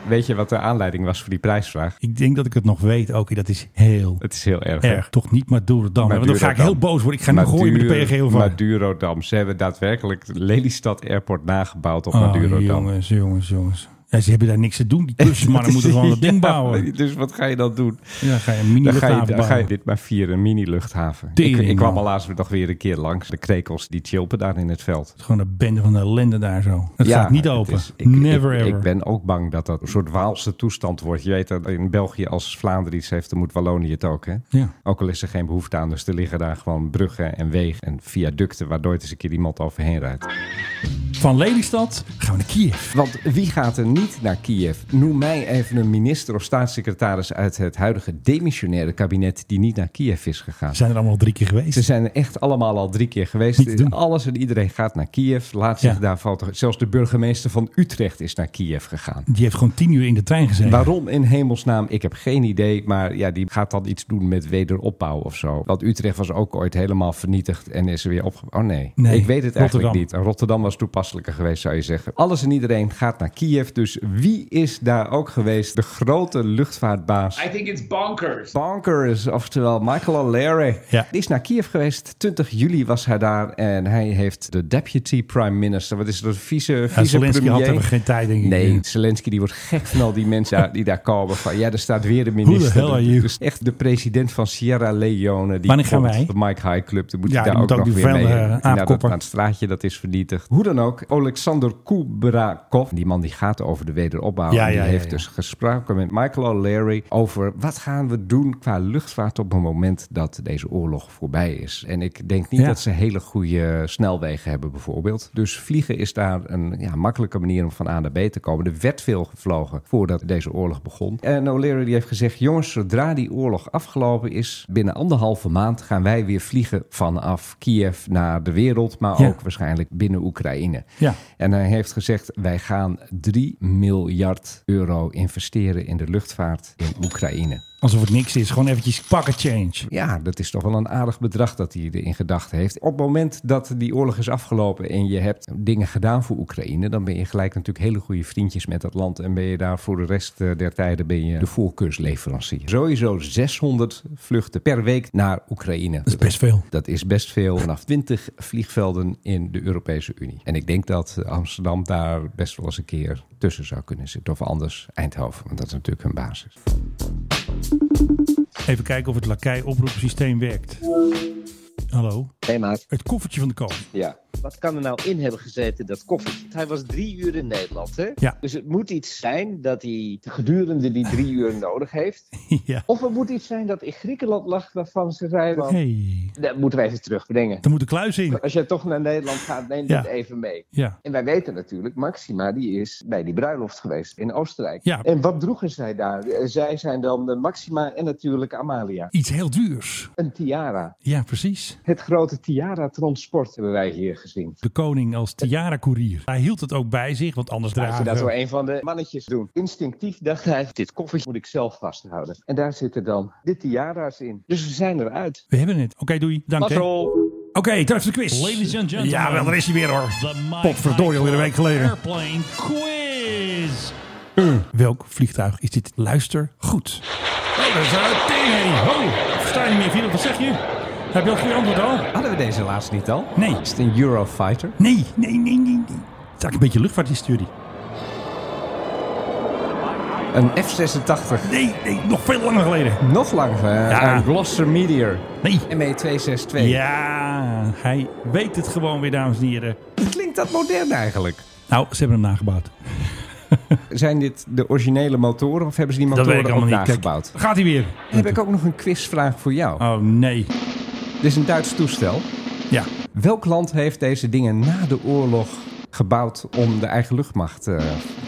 Weet je wat de aanleiding was voor die prijsvraag?
Ik denk dat ik het nog weet. Oké, dat is heel
Het is heel erg. hè?
erg. Toch niet maar door het dan. Want dan ga ik
Madurodam.
heel boos worden. Ik ga nu
Maduro-
gooien met de PGO van.
Madurodam. Ze hebben daadwerkelijk Lelystad Airport nagebouwd op
Oh,
Madurodam.
jongens, jongens, jongens. Ja, ze hebben daar niks
*laughs*
te doen. Die klusjesmannen moeten gewoon dat ding
Ja,
bouwen.
Dus wat ga je dan doen?
Ja, dan ga je een mini
Dan ga, je, dan
luchthaven
ga je
bouwen.
dit maar vieren, een mini-luchthaven. Ik,
Tering,
ik kwam
man.
al laatst nog weer een keer langs. De krekels die chilpen daar in het veld.
Gewoon een bende van de ellende daar zo. Het
Ja,
gaat niet
het
open.
is- ik-
Never
ik,
ever.
Ik ben ook bang dat dat een soort Waalse toestand wordt. Je weet dat in België als Vlaanderen iets heeft, dan moet Wallonië het ook. Hè?
Ja.
Ook al is er geen behoefte aan, dus er liggen daar gewoon bruggen en wegen en viaducten waar nooit eens een keer iemand overheen rijdt.
Van Lelystad gaan we naar Kiev.
Want wie gaat er niet naar Kiev? Noem mij even een minister of staatssecretaris uit het huidige demissionaire kabinet die niet naar Kiev is gegaan.
We zijn er allemaal al drie keer
Ze
geweest.
zijn er echt allemaal al drie keer
Niet te
geweest.
doen.
Alles en iedereen gaat naar Kiev. Laat zich
Ja.
daar foto. Zelfs de burgemeester van Utrecht is naar Kiev gegaan.
Die heeft gewoon tien uur in de trein gezeten.
Waarom in hemelsnaam? Ik heb geen idee. Maar ja, die gaat dan iets doen met wederopbouw of zo. Want Utrecht was ook ooit helemaal vernietigd en is er weer opgebouwd. Oh nee.
Nee,
ik weet het eigenlijk
Rotterdam.
niet. En Rotterdam was toepasselijker geweest, zou je zeggen. Alles en iedereen gaat naar Kiev, dus wie is daar ook geweest? De grote luchtvaartbaas. I think it's bonkers. Bonkers, oftewel Michael O'Leary.
Ja.
Die is naar Kiev geweest. 20 juli was hij daar en hij heeft de deputy prime minister. Wat is dat? Vice,
Ja,
vice
Zelensky had
premier?
er geen tijd, denk ik.
Nee, Zelensky die wordt gek van al die
*laughs*
mensen daar- die daar komen. Van, ja, er staat weer de minister.
hell are you?
Dus echt de president van Sierra Leone. Die
Wanneer gaan
komt
wij?
op De Mike High Club. Dan moet
Ja,
hij
die
daar ook,
moet ook
nog
die
weer mee.
vuile, eh,
Nou, dat,
aapkopper.
aan het straatje, dat is vernietigd. Hoe dan ook, Alexander Kubrakov. Die man die gaat over de wederopbouw.
Ja,
en die
ja, ja,
heeft
ja.
dus gesproken met Michael O'Leary over wat gaan we doen qua luchtvaart op het moment dat deze oorlog voorbij is. En ik denk niet
Ja.
dat ze hele goede snelwegen hebben bijvoorbeeld. Dus vliegen is daar een ja, makkelijke manier om van A naar B te komen. Er werd veel gevlogen voordat deze oorlog begon. En O'Leary die heeft gezegd, jongens, zodra die oorlog afgelopen is, binnen anderhalve maand gaan wij weer vliegen vanaf Kiev naar de wereld, maar
Ja.
ook waarschijnlijk binnen Oekraïne.
Ja.
En hij heeft gezegd, wij gaan 3 miljard euro investeren in de luchtvaart in Oekraïne.
Alsof het niks is. Gewoon eventjes pakken change.
Ja, dat is toch wel een aardig bedrag dat hij erin gedacht heeft. Op het moment dat die oorlog is afgelopen en je hebt dingen gedaan voor Oekraïne, dan ben je gelijk natuurlijk hele goede vriendjes met dat land en ben je daar voor de rest eh, der tijden ben je de voorkeursleverancier. Sowieso 600 vluchten per week naar Oekraïne.
Dat is best veel.
Dat is best veel vanaf 20 vliegvelden in de Europese Unie. En ik denk dat eh, Amsterdam daar best wel eens een keer tussen zou kunnen zitten. Of anders Eindhoven, want dat is natuurlijk hun basis.
Even kijken of het lakai oproepsysteem werkt. Hallo?
Hey maat,
Het koffertje van de koning.
Ja.
wat kan er nou in hebben gezeten dat koffertje? Hij was drie uur in Nederland, hè?
Ja. *laughs*
Dus het moet iets zijn dat hij gedurende die drie uur nodig heeft.
ja.
Of het moet iets zijn dat in Griekenland lag waarvan ze zeiden... van,
Hey.
Dat moeten we even terugbrengen.
Er moet een kluis in.
Als jij toch naar Nederland gaat, neem
Ja.
dit even mee.
Ja.
En wij weten natuurlijk, Maxima die is bij die bruiloft geweest in Oostenrijk.
Ja.
En wat droegen zij daar? Eh, Zij zijn dan eh, Maxima en natuurlijk Amalia.
Iets heel duurs.
Een tiara.
Ja, precies.
Het grote tiara-transport hebben wij hier gezien.
De koning als tiara-koerier. Hij hield het ook bij zich, want anders
Laat je dat door
dragen...
een van de mannetjes doen. Instinctief dacht hij, dit koffertje moet ik zelf vasthouden. En daar zitten dan de tiara's in. Dus we zijn eruit.
We hebben het. Oké, doei. Dank hè. Oké,
Patrol.
terug de quiz.
Ladies and gentlemen.
Ja, wel, daar is hij weer hoor.
The
Potverdorie, alweer een week geleden. Eh,
Airplane quiz.
Welk vliegtuig is dit? Luister goed. Oh, dat is een tering. Oh, versta je niet meer, Philip. Wat zeg je? Heb je al geen antwoord al?
Hadden we deze laatst niet al?
Nee.
Is het een Eurofighter?
Nee, nee, nee, nee. nee. Het is eigenlijk een beetje luchtvaarthistorie.
Een F-86.
Nee, nee, nog veel langer geleden.
Nog langer. eh,
Ja.
Een Gloster Meteor. E
Nee.
ME-262.
Ja, hij weet het gewoon weer, dames en heren.
Klinkt dat modern eigenlijk?
Nou, ze hebben hem nagebouwd.
Zijn dit de originele motoren of hebben ze die
Dat weet
motoren
ik
ook
allemaal niet. Kijk,
nagebouwd?
gaat hij weer.
Dan heb ik ook nog een quizvraag voor jou.
Oh, nee.
Dit is een Duits toestel.
Ja.
Welk land heeft deze dingen na de oorlog gebouwd om de eigen luchtmacht eh,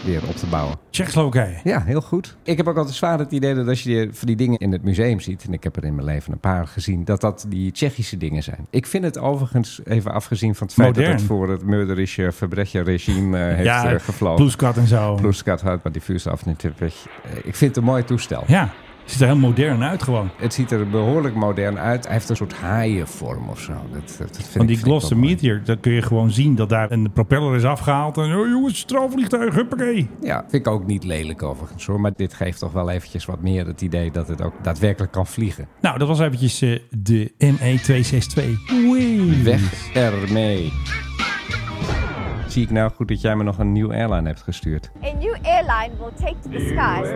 weer op te bouwen?
Tsjechoslowakije.
Ja, heel goed. Ik heb ook altijd zwaar het idee dat als je die- van die dingen in het museum ziet, en ik heb er in mijn leven een paar gezien, dat dat die Tsjechische dingen zijn. Ik vind het overigens, even afgezien van het feit dat
Modern.
het voor het murderische Verbrecherregime eh, heeft
ja,
eh, gevlogen.
Blue Squad en zo.
Ploeskat houdt maar die vuurstaf niet terug. Eh, Ik vind het een mooi toestel.
Ja, ziet er heel modern uit gewoon.
Het ziet er behoorlijk modern uit. Hij heeft een soort haaienvorm of zo. Dat, dat, dat vind
Want
ik-
die
vind ik wel
Gloster
mooi.
Meteor, dat kun je gewoon zien dat daar een propeller is afgehaald. En oh jongens, straalvliegtuig, huppakee.
Ja, vind ik ook niet lelijk overigens hoor. Maar dit geeft toch wel eventjes wat meer het idee dat het ook daadwerkelijk kan vliegen.
Nou, dat was eventjes eh, de ME262.
Weg ermee. Zie ik nou goed dat jij me nog een nieuw airline hebt gestuurd?
A new airline will take to the skies.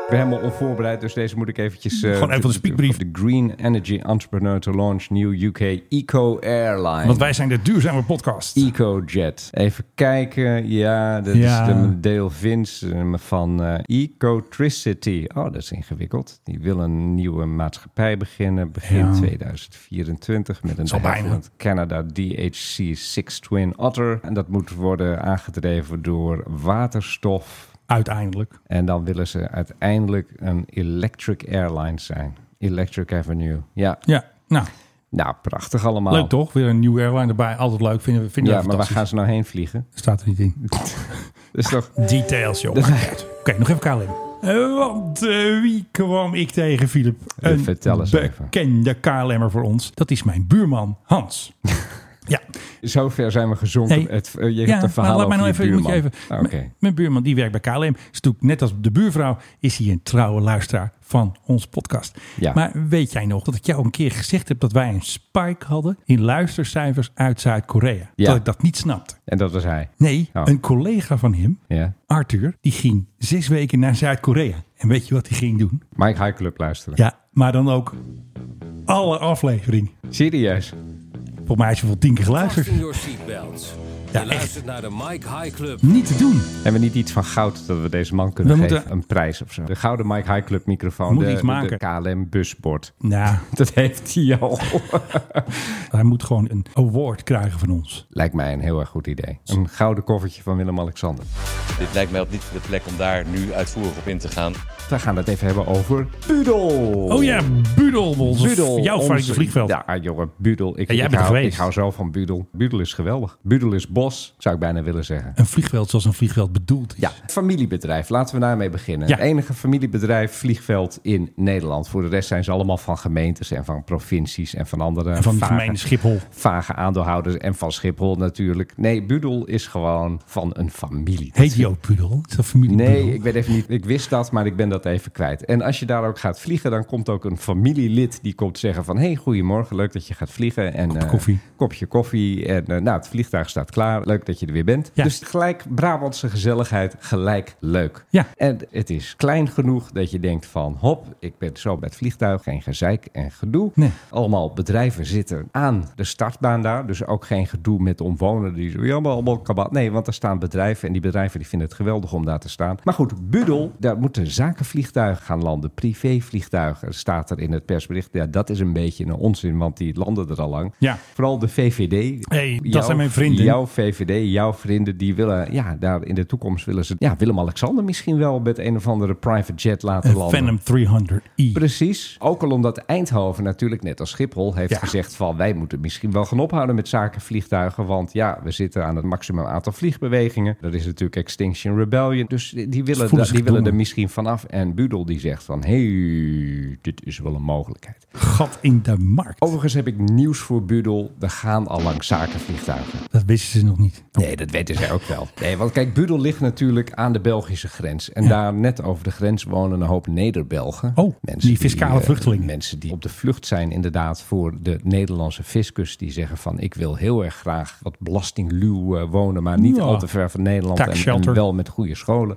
Ik ben helemaal onvoorbereid, dus deze moet ik eventjes... eh,
Gewoon even de speakbrief.
De Green Energy Entrepreneur to Launch New UK Eco Airline.
Want wij zijn de duurzame podcast.
EcoJet. Even kijken. Ja, dat
Ja.
is de deel Vins eh, van eh Ecotricity. Oh, dat is ingewikkeld. Die wil een nieuwe maatschappij beginnen begin
Ja.
2024 met een
al bijna.
deel van het Canada DHC 6 Twin Otter. En dat moet worden aangedreven door waterstof.
Uiteindelijk.
En dan willen ze uiteindelijk een electric airline zijn. Electric Avenue. Ja,
Ja, nou,
nou prachtig allemaal.
leuk toch? Weer een nieuwe airline erbij. Altijd leuk, vinden we vinden
Ja,
we
maar waar
fantastisch.
gaan ze nou heen vliegen?
Staat er niet
*laughs*
in.
Dat is
*laughs*
toch...
Details, joh. Maakt niet uit. Oké, nog even KLM. Eh, want eh, wie kwam ik tegen, Filip?
vertel eens even. *laughs*
bekende KLM'er voor ons. Dat is mijn buurman Hans. Ja.
Zover zijn we gezonken.
Nee.
Het, eh, je
Ja,
hebt een verhaal
maar laat mij nou
over
even,
je
moet je even.
buurman. Ah, Oké.
M- Mijn buurman die werkt bij KLM. Is natuurlijk net als de buurvrouw is hij een trouwe luisteraar van onze podcast.
Ja.
Maar weet jij nog dat ik jou een keer gezegd heb dat wij een spike hadden in luistercijfers uit Zuid-Korea?
Ja.
Dat ik dat niet snapte.
En dat was hij.
Nee,
Oh.
een collega van hem,
Ja.
Arthur, die ging zes weken naar Zuid-Korea. En weet je wat hij ging doen?
Mike High Club luisteren.
Ja, maar dan ook alle afleveringen.
Serieus.
Volgens mij is je wel tien keer geluisterd.
your seatbelts.
Ja,
je luistert naar de Mike High Club.
Niet te doen.
Hebben we niet iets van goud dat we deze man kunnen
We
geven?
moeten-
Een prijs of zo. De gouden Mike High Club microfoon.
Moet
de,
iets maken.
de KLM busbord.
Nou,
*laughs* Dat heeft hij al.
*laughs* hij moet gewoon een award krijgen van ons.
Lijkt mij een heel erg goed idee. Een gouden koffertje van Willem-Alexander.
Dit lijkt mij op niet de plek om daar nu uitvoerig op in te gaan.
Dan gaan we het even hebben over Budel.
Oh ja, Budel, onze- jouw
onze-
favoriete vliegveld.
Ja, ah, jongen, Budel. Ik,
Ja, jij
ik,
bent er
hou,
geweest.
ik hou zo van Budel. Budel is geweldig. Budel is bos, zou ik bijna willen zeggen.
Een vliegveld zoals een vliegveld bedoeld is.
Ja, familiebedrijf. Laten we daarmee beginnen.
Ja.
Het enige familiebedrijf vliegveld in Nederland. Voor de rest zijn ze allemaal van gemeentes en van provincies en van andere
En van de
vage-
gemeente Schiphol.
vage aandeelhouders en van Schiphol natuurlijk. Nee, Budel is gewoon van een familie.
Heet die ook Budel? Is dat familie
Nee,
Budel?
ik weet even niet. Ik wist dat, maar ik ben dat even kwijt. En als je daar ook gaat vliegen, dan komt ook een familielid die komt zeggen van... hey, goedemorgen, leuk dat je gaat vliegen. En, eh,
koffie.
Kopje koffie. En eh, nou, het vliegtuig staat klaar. Leuk dat je er weer bent.
Ja.
Dus gelijk Brabantse gezelligheid, gelijk leuk.
Ja.
En het is klein genoeg dat je denkt van... hop, ik ben zo bij het vliegtuig. Geen gezeik en gedoe.
Nee.
Allemaal bedrijven zitten aan de startbaan daar. Dus ook geen gedoe met omwonenden die zo jammer allemaal kabat. Nee, want er staan bedrijven en die bedrijven die vinden het geweldig om daar te staan. Maar goed, Budel, daar moeten zakenvliegtuigen gaan landen. Privévliegtuigen staat er in het persbericht. Ja, dat is een beetje een onzin, want die landen er al lang.
Ja.
Vooral de VVD.
Hey, dat
Jouw-
zijn mijn vrienden.
Jouw VVD, jouw vrienden, die willen ja, daar in de toekomst willen ze ja, Willem-Alexander misschien wel met een of andere private jet laten
Een
landen.
Phantom E. 300i.
Precies. Ook al omdat Eindhoven natuurlijk, net als Schiphol, heeft
Ja.
gezegd van wij moeten misschien wel gaan ophouden met zakenvliegtuigen. Want ja, we zitten aan het maximum aantal vliegbewegingen. Dat is natuurlijk Extinction Rebellion. Dus die
voelen
willen, da- die
zich
willen er
gedwongen.
misschien vanaf. En Budel die zegt van hé, hey, dit is wel een mogelijkheid.
Gat in de markt.
Overigens heb ik nieuws voor Budel. Er gaan allang zakenvliegtuigen.
Dat wisten ze nog niet.
Nee, dat weten zij ook wel. Nee, want kijk, Budel ligt natuurlijk aan de Belgische grens. En daar net over de grens wonen een hoop Neder-Belgen.
Oh, die fiscale
eh,
vluchtelingen.
Mensen die op de vlucht zijn inderdaad voor de Nederlandse fiscus. Die zeggen van, ik wil heel erg graag wat belastingluw eh, wonen. Maar niet
Ja.
al te ver van Nederland.
Tax
En, en
shelter.
wel met goede
*laughs*
scholen.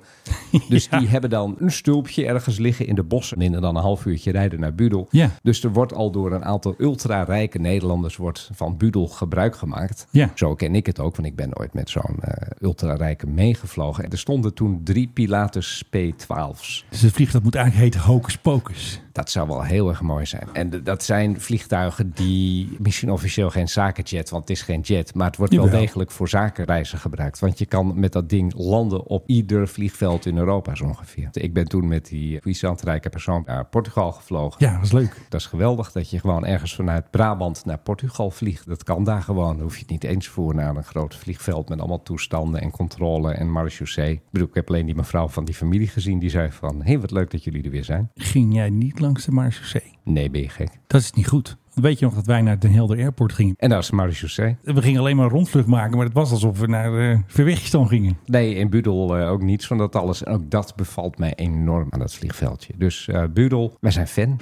Dus die hebben dan een stulpje ergens liggen in de bossen. Minder dan een half uurtje rijden naar Budel.
Ja.
Dus er wordt al door een aantal ultra-rijke Nederlanders wordt van Budel gebruik gemaakt.
Ja.
Zo ken ik het ook, want ik ben ooit met zo'n eh, ultra-rijke meegevlogen. En er stonden toen drie Pilatus P12's.
Dus het vliegtuig moet eigenlijk heten Hocus Pocus.
Dat zou wel heel erg mooi zijn. En d- dat zijn vliegtuigen die misschien officieel geen zakenjet, want het is geen jet. Maar het wordt wel
Jawel.
degelijk voor zakenreizen gebruikt. Want je kan met dat ding landen op ieder vliegveld in Europa zo ongeveer. Ik ben toen met die puissant rijke persoon naar Portugal gevlogen.
Ja, dat is leuk.
Dat is geweldig dat je gewoon ergens vanuit Brabant naar Portugal vliegt. Dat kan daar gewoon. Dan hoef je het niet eens voor naar een groot vliegveld met allemaal toestanden en controle en marechaussee. Ik bedoel, ik heb alleen die mevrouw van die familie gezien die zei van... Hé, hey, wat leuk dat jullie er weer zijn.
Ging jij niet langs de marechaussee?
Nee, ben je gek.
Dat is niet goed. Want weet je nog dat wij naar Den Helder Airport gingen?
En daar is de marechaussee.
We gingen alleen maar een rondvlucht maken, maar het was alsof we naar eh Verwegistan gingen.
Nee, in Budel eh, ook niets van dat alles. En ook dat bevalt mij enorm aan dat vliegveldje. Dus eh, Budel, wij zijn fan.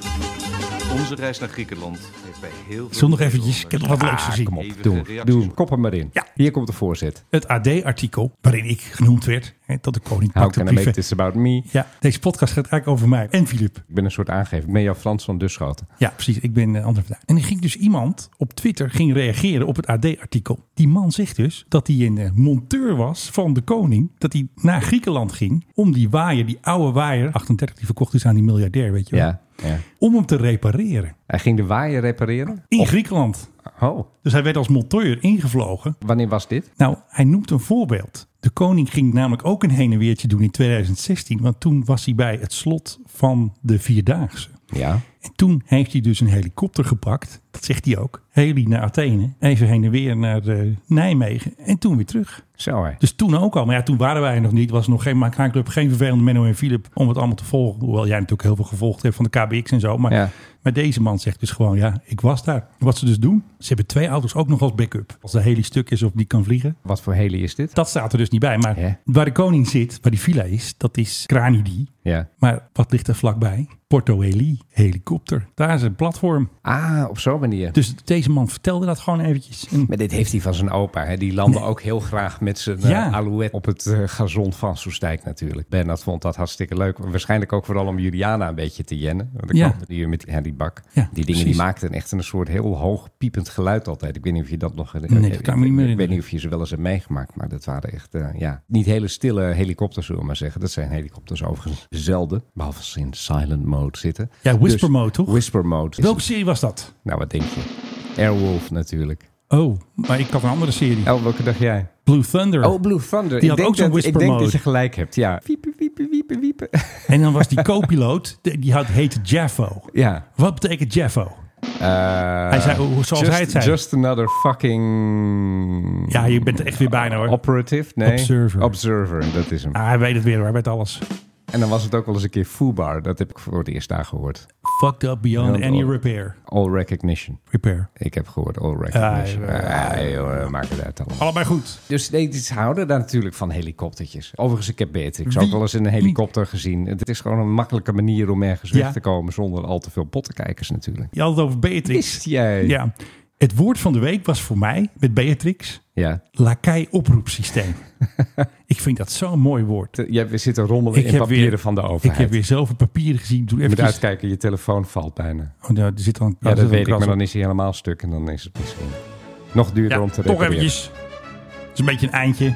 Onze reis naar Griekenland heeft bij heel veel...
Zondag eventjes, ik heb nog wat leuks gezien.
Ah, Kom op, doe, hem. doe hem. Kop hem maar in.
Ja.
Hier komt de voorzet.
Het AD-artikel, waarin ik genoemd werd, hè, dat de koning
How
pakte
can I make
brieven.
this about me?
Ja, deze podcast gaat eigenlijk over mij en Filip.
Ik ben een soort aangever. Ik ben jouw Frans van Duschoten.
Ja, precies. Ik ben eh, André van Duin. En er ging dus iemand op Twitter ging reageren op het AD-artikel. Die man zegt dus dat hij een eh, monteur was van de koning. Dat hij naar Griekenland ging om die waaier, die oude waaier, 38, die verkocht is aan die miljardair, weet je wel.
Ja, ja.
Om hem te repareren.
Hij ging de waaier repareren?
In Griekenland.
Oh,
Dus hij werd als monteur ingevlogen.
wanneer was dit?
Nou, hij noemt een voorbeeld. De koning ging namelijk ook een heen en weertje doen in 2016. Want toen was hij bij het slot van de Vierdaagse.
Ja.
En toen heeft hij dus een helikopter gepakt. Dat zegt hij ook. Heli naar Athene. Even heen en weer naar eh, Nijmegen. En toen weer terug.
Zo hè.
Dus toen ook al. Maar ja, toen waren wij er nog niet. Was nog geen Mike High Club, geen vervelende Menno en Philip om het allemaal te volgen. Hoewel jij natuurlijk heel veel gevolgd hebt van de KBX en zo. Maar,
Ja.
maar deze man zegt dus gewoon, ja, ik was daar. Wat ze dus doen, ze hebben twee auto's ook nog als backup. Als de heli stuk is of die kan vliegen.
Wat voor heli is dit?
Dat staat er dus niet bij. Maar waar de koning zit, waar die villa is, dat is Kranidi.
Ja.
Maar wat ligt er vlakbij? Porto Heli, helikopter. Daar is een platform.
Ah, op zo'n manier.
Dus deze man vertelde dat gewoon eventjes. En-
Maar dit heeft hij van zijn opa. Hè? Die landde ook heel graag met zijn eh,
Ja.
alouette op het eh, gazon van Soestdijk natuurlijk. Bernard vond dat hartstikke leuk. Waarschijnlijk ook vooral om Juliana een beetje te jennen. Want dan
Ja.
kwam die hier met ja, die bak.
Ja,
die dingen
precies.
die maakten echt een soort heel hoog piepend geluid altijd. Ik weet niet of je dat nog... eh,
Nee, dat kan ik me niet meer
Ik weet niet of je ze wel eens hebt meegemaakt. Maar dat waren echt, eh, ja, niet hele stille helikopters zullen we maar zeggen. Dat zijn helikopters overigens zelden. Behalve als ze in silent mode zitten.
Ja, whisper
Dus
mode, toch?
Whisper mode. is
Welke serie was dat?
nou, wat denk je? Airwolf natuurlijk.
Oh, maar ik had een andere serie.
Oh, welke dag jij?
Blue Thunder.
Oh, Blue Thunder.
Die
ik
had
denk
ook zo'n
dat-
whisper
Ik denk
mode.
dat je gelijk hebt, ja. Wiepen, wiepen, wiepen, wiepen. *laughs*
En dan was die co-piloot, *laughs* de- die had, heette Jaffo.
Ja.
Wat betekent Jaffo?
Eh,
Hij zei, hoe- zoals
just,
hij het zei.
Just another fucking...
Ja, je bent er echt weer bijna hoor.
Operative? Nee.
Observer.
Observer, dat is hem.
Ah, hij weet het weer hoor, hij weet alles.
En dan was het ook wel eens een keer foobar. Dat heb ik voor het eerst daar gehoord.
Fucked up beyond
Ja,
any
oh.
repair.
All recognition.
Repair.
Ik heb gehoord all recognition.
Ah, ja.
Ah, joh, maakt het uit allemaal.
Allebei goed.
Dus nee, ze houden daar natuurlijk van helikoptertjes. Overigens, ik heb Beatrix ook
Wie-
wel eens in een helikopter gezien. Het is gewoon een makkelijke manier om ergens
Ja.
weg te komen zonder al te veel pottenkijkers natuurlijk.
Je had het over Beatrix.
Wist jij?
Ja. Het woord van de week was voor mij, met Beatrix,
Ja.
lakai *laughs* oproepsysteem. ik vind dat zo'n mooi woord.
Te- Jij zit te rommelen in papieren van de overheid.
Ik heb weer zoveel papieren gezien. Doe
je moet
even
uitkijken, je telefoon valt bijna.
Oh, daar- er zit dan,
Ja,
er zit
dat
een
weet ik,
kras
maar
op.
dan is hij helemaal stuk en dan is het misschien nog duurder om te
toch
repareren.
eventjes. Het is een beetje een eindje.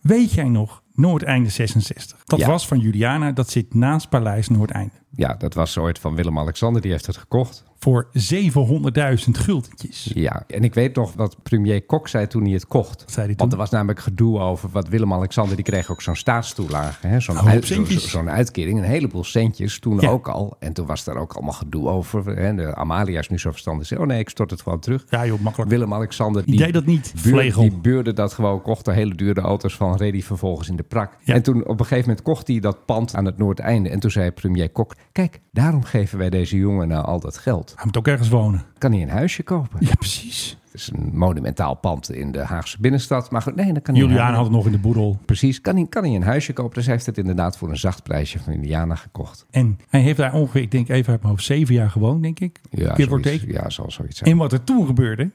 Weet jij nog Noordeinde 66? Dat
Ja.
was van Juliana. Dat zit naast Paleis Noordeinde.
Ja, dat was ooit van Willem-Alexander, die heeft het gekocht.
Voor 700.000 guldentjes.
Ja, en ik weet nog wat premier Kok zei toen hij het kocht.
zei hij
Want er
toen?
was namelijk gedoe over wat Willem-Alexander, die kreeg ook zo'n staatstoelage. hè, Zo'n
Een hoop
uit- zo-
Oh, centjes.
zo'n uitkering, een heleboel centjes toen
Ja.
ook al. En toen was daar ook allemaal gedoe over. Hè. De Amalia is nu zo verstandig. Ze zei, Oh nee, ik stort het gewoon terug.
Ja joh, makkelijk.
Willem-Alexander die
deed dat niet,
buur-
vlegel.
die beurde dat gewoon, kocht er hele dure auto's van, reed die vervolgens in de prak.
Ja.
En toen op een gegeven moment kocht hij dat pand aan het Noordeinde. En toen zei premier Kok, kijk, daarom geven wij deze jongen nou al dat geld.
Hij moet ook ergens wonen.
Kan hij een huisje kopen?
Ja, precies.
Het is een monumentaal pand in de Haagse binnenstad. Maar goed, nee, dan kan hij een
Juliana
huis-
had het nog in de boedel.
Precies, kan hij, kan hij een huisje kopen. Dus hij heeft het inderdaad voor een zacht prijsje van Indiana gekocht.
En hij heeft daar ongeveer, ik denk even uit mijn hoofd, zeven jaar gewoond, denk ik. Give or
zoiets,
take.
ja zal zoiets zijn.
En wat er toen gebeurde,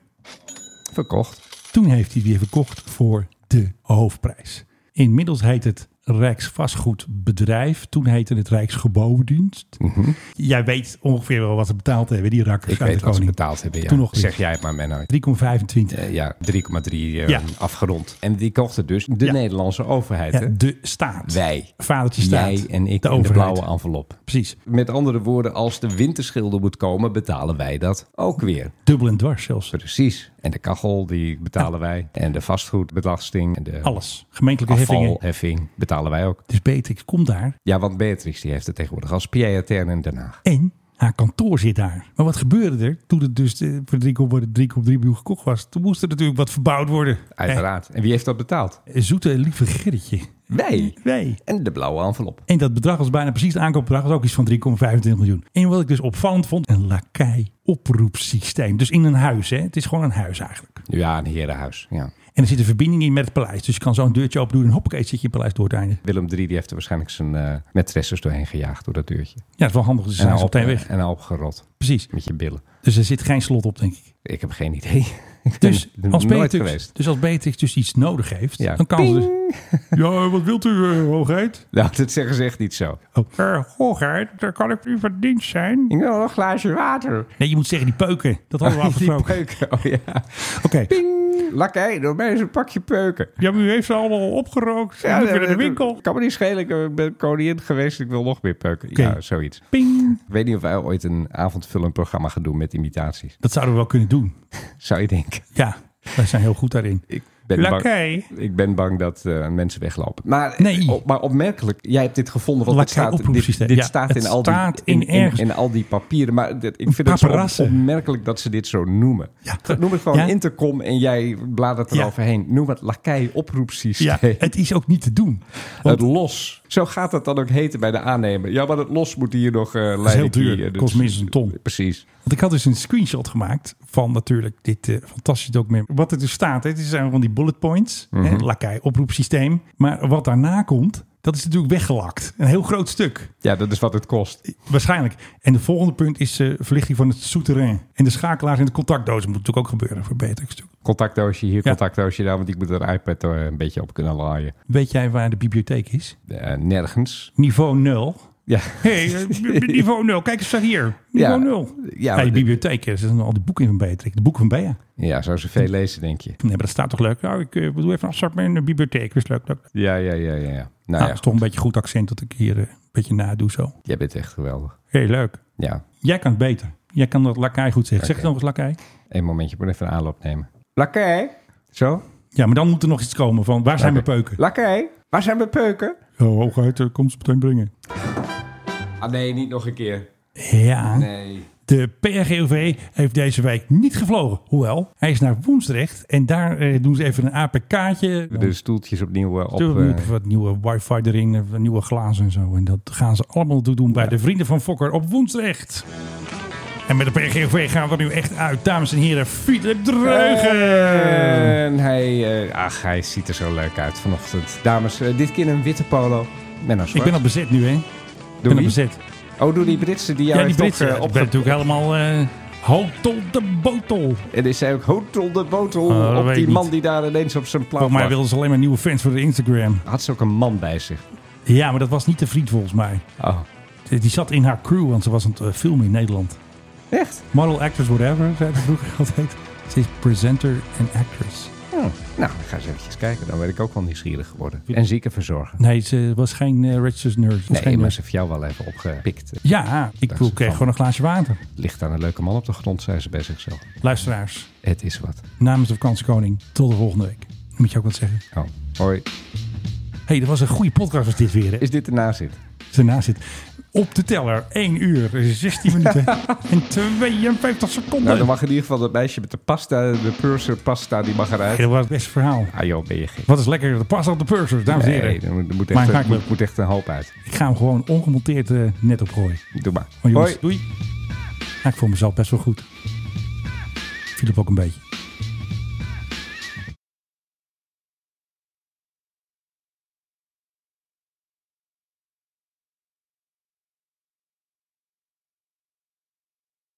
Verkocht.
toen heeft hij het weer verkocht voor de hoofdprijs. Inmiddels heet het Rijksvastgoedbedrijf. Toen heette het Rijksgebouwdienst. Jij weet ongeveer wel wat ze betaald hebben, die rakkers
Mhm. Ik
uit
weet
de
wat ze
koning.
betaald hebben. Ja.
Toen nog
zeg jij het maar, Menno.
3,25.
Eh, ja, 3,3 eh,
Ja.
afgerond. En die kocht het dus de
Ja.
Nederlandse overheid.
Ja,
hè?
de staat.
Wij.
Vadertje staat.
Jij en ik
de
in de
overheid.
blauwe envelop.
Precies.
Met andere woorden, als de winterschilder moet komen, betalen wij dat ook weer.
Dubbel en dwars zelfs.
Precies. En de kachel, die betalen wij. En de vastgoedbelasting. En de
Alles. Gemeentelijke heffingen.
afvalheffing betalen wij ook.
Dus Beatrix komt daar.
Ja, want Beatrix die heeft het tegenwoordig als PIATN in Den Haag.
En haar kantoor zit daar. Maar wat gebeurde er toen het dus eh, voor 3,3 miljoen gekocht was? Toen moest er natuurlijk wat verbouwd worden.
Uiteraard. En wie heeft dat betaald?
Eh, zoete lieve Gerritje.
Wij.
Wij.
En de blauwe envelop.
En dat bedrag was bijna precies het aankoopbedrag, was ook iets van 3,25 miljoen. En wat ik dus opvallend vond, een lakai oproepsysteem. Dus in een huis, hè? het is gewoon een huis eigenlijk.
Ja, een herenhuis. Ja.
En er zit een verbinding in met het paleis. Dus je kan zo'n deurtje open doen en hoppakee, zit je in het paleis door het einde.
Willem III die heeft er waarschijnlijk zijn eh maîtresses doorheen gejaagd door dat deurtje.
Ja, dat is wel handig, dus ze
en
zijn ze
haar op-
meteen weg.
En haar opgerot
Precies.
met je billen.
Dus er zit geen slot op, denk ik.
Ik heb geen idee. *laughs* Ik ben
Dus
er
als,
nooit
Beatrix,
geweest.
dus als Beatrix dus iets nodig heeft,
Ja.
dan kan ze dus... *laughs* Ja, wat wilt u, eh, hoogheid?
Nou, dat zeggen ze echt niet zo.
Oh. Eh, hoogheid, daar kan ik u van dienst zijn.
Ik wil nog een glaasje water.
Nee, je moet zeggen die peuken. Dat hadden Oh,
*laughs*
we
Die
afgesproken.
peuken, oh ja.
Oké.
Ping! Lakkei, door mij is een pakje peuken.
Ja, maar u heeft ze allemaal opgerookt. Ja,
dat-
weer naar de
dat-
winkel.
Kan me niet schelen, ik eh, ben koningin geweest, ik wil nog meer peuken.
Oké.
Ja, zoiets.
Ping.
Ik weet niet of wij ooit een avondvullend programma gaan doen met imitaties.
Dat zouden we wel kunnen doen.
Zou je denken?
Ja, wij zijn heel goed daarin.
Ik ben bang-
Lakij.
ik ben bang dat eh, mensen weglopen. Maar, eh, op- maar opmerkelijk, jij hebt dit gevonden. Want dit
Lakij
staat, dit,
oproepsysteem.
dit
Ja,
staat,
het
in, al
staat
die,
in
in, in,
ergens.
in al die papieren. Maar dit- ik vind het zo
paparazzen.
opmerkelijk dat ze dit zo noemen. Noem het gewoon
Ja.
intercom en jij bladert
Ja.
eroverheen. Noem het lakij oproepsysteem.
Ja, het is ook niet te doen.
het los. Zo gaat dat dan ook heten bij de aannemer. Ja, maar het los moet hier nog eh leiden.
Dat is heel duur.
hier, dus-
kost minstens een ton.
Precies.
Want ik had dus een screenshot gemaakt van natuurlijk dit eh, fantastische document. Wat er dus staat, hè, het zijn van die bullet points. hè,
Mhm.
Lakai oproepsysteem. Maar wat daarna komt, dat is natuurlijk weggelakt. Een heel groot stuk.
Ja, dat is wat het kost.
Waarschijnlijk. En de volgende punt is eh, verlichting van het souterrain. En de schakelaars in de contactdozen moet natuurlijk ook gebeuren voor beter stuk.
Contactdoosje hier, contactdoosje daar. Want ik moet er iPad er een beetje op kunnen laaien.
Weet jij waar de bibliotheek is?
Eh, nergens.
Niveau 0.
Ja.
Hé, hey, eh, niveau 0. Kijk eens daar hier. Niveau
Ja.
0.
Ja,
Ja,
maar
hey,
dit-
bibliotheek. Er zitten al die boeken in van Beatrix. De boeken van Bea.
*laughs* Ja, zou ze veel lezen, denk je.
Nee, maar dat staat toch leuk? Nou, ik eh, doe even een afspraak met de bibliotheek. Dat is leuk. leuk. Nou,
Ja, ja, ja, ja. ja. Nou
dat
ja,
is toch een beetje goed accent dat ik hier eh, een beetje nadoe zo.
jij bent echt geweldig.
Hé, hey, leuk.
Ja.
Jij kan het beter. Jij kan dat lakai goed zeggen. Zeg het nog eens lakai.
Eén momentje, ik moet even een aanloop nemen. Lakai. Zo?
Ja, maar dan moet er nog iets komen van waar zijn mijn peuken?
Lakai. Waar zijn mijn peuken?
Oh, hoogheid, eh, kom ze meteen brengen.
Ah nee, niet nog een keer.
Ja.
Nee.
De PRGOV heeft deze week niet gevlogen. Hoewel, hij is naar Woensdrecht en daar eh, doen ze even een APK'tje.
De stoeltjes opnieuw eh, op...
Stuur nu
eh,
wat nieuwe wifi erin, eh, wat nieuwe glazen en zo. En dat gaan ze allemaal doen bij de vrienden van Fokker op Woensdrecht. En met de PGV gaan we er nu echt uit. Dames en heren, Philip
Eh,
Dreugen.
En hij, eh, ach, hij ziet er zo leuk uit vanochtend. Dames, eh, dit keer een witte polo. Menno
Ik
Zwart.
ben al bezet nu, hè? ik ben al
wie?
bezet.
Oh, door die Britse die
Ja,
jou
die
heeft
Britse.
opge-
ik ben
opge-
natuurlijk helemaal eh hotel de botel.
En is hij ook hotel de botel
Oh, dat
op
weet
die
ik
man
niet.
die daar ineens op zijn plaat
Volgens mij
lag.
wilden ze alleen maar nieuwe fans voor de Instagram.
Had ze ook een man bij zich?
Ja, maar dat was niet de vriend volgens mij.
Oh.
Die die zat in haar crew, want ze was aan het eh, filmen in Nederland.
Echt?
Model, actress, whatever, zei ze vroeger *laughs* altijd. Ze is presenter en actress.
Oh, nou, ik ga eens eventjes kijken. Dan ben ik ook wel nieuwsgierig geworden. En ziekenverzorger.
Nee, ze was geen eh, registered nurse. Ze was
Nee,
geen
maar
nurse.
ze heeft jou wel even opgepikt.
Ja, ik
Dankzij
bedoel, ik kreeg
van.
gewoon een glaasje water.
Ligt daar een leuke man op de grond, zei ze bij zichzelf.
Luisteraars,
Het is wat.
namens de vakantiekoning, tot de volgende week. Moet je ook wat zeggen.
Oh, hoi.
hey, dat was een goede podcast was dit weer. Hè?
Is dit de nazit? Nou,
Daarna zit op de teller 1 uur,
*laughs*
16 minuten en 52 seconden.
Nou, dan mag in ieder geval dat meisje met de pasta, de purser pasta, die mag eruit.
Hey, dat was het beste verhaal.
Ah joh, ben je gek.
Wat is lekker, de pas op de purser, dames en
Nee,
heren.
er moet, er moet,
Mijn
echt, er
haakklap.
moet, moet echt een hoop uit.
Ik ga hem gewoon ongemonteerd eh, net opgooien.
Doe maar.
Maar Oh, jongens,
Hoi.
doei. Ja, ik voel mezelf best wel goed. Philip ook een beetje.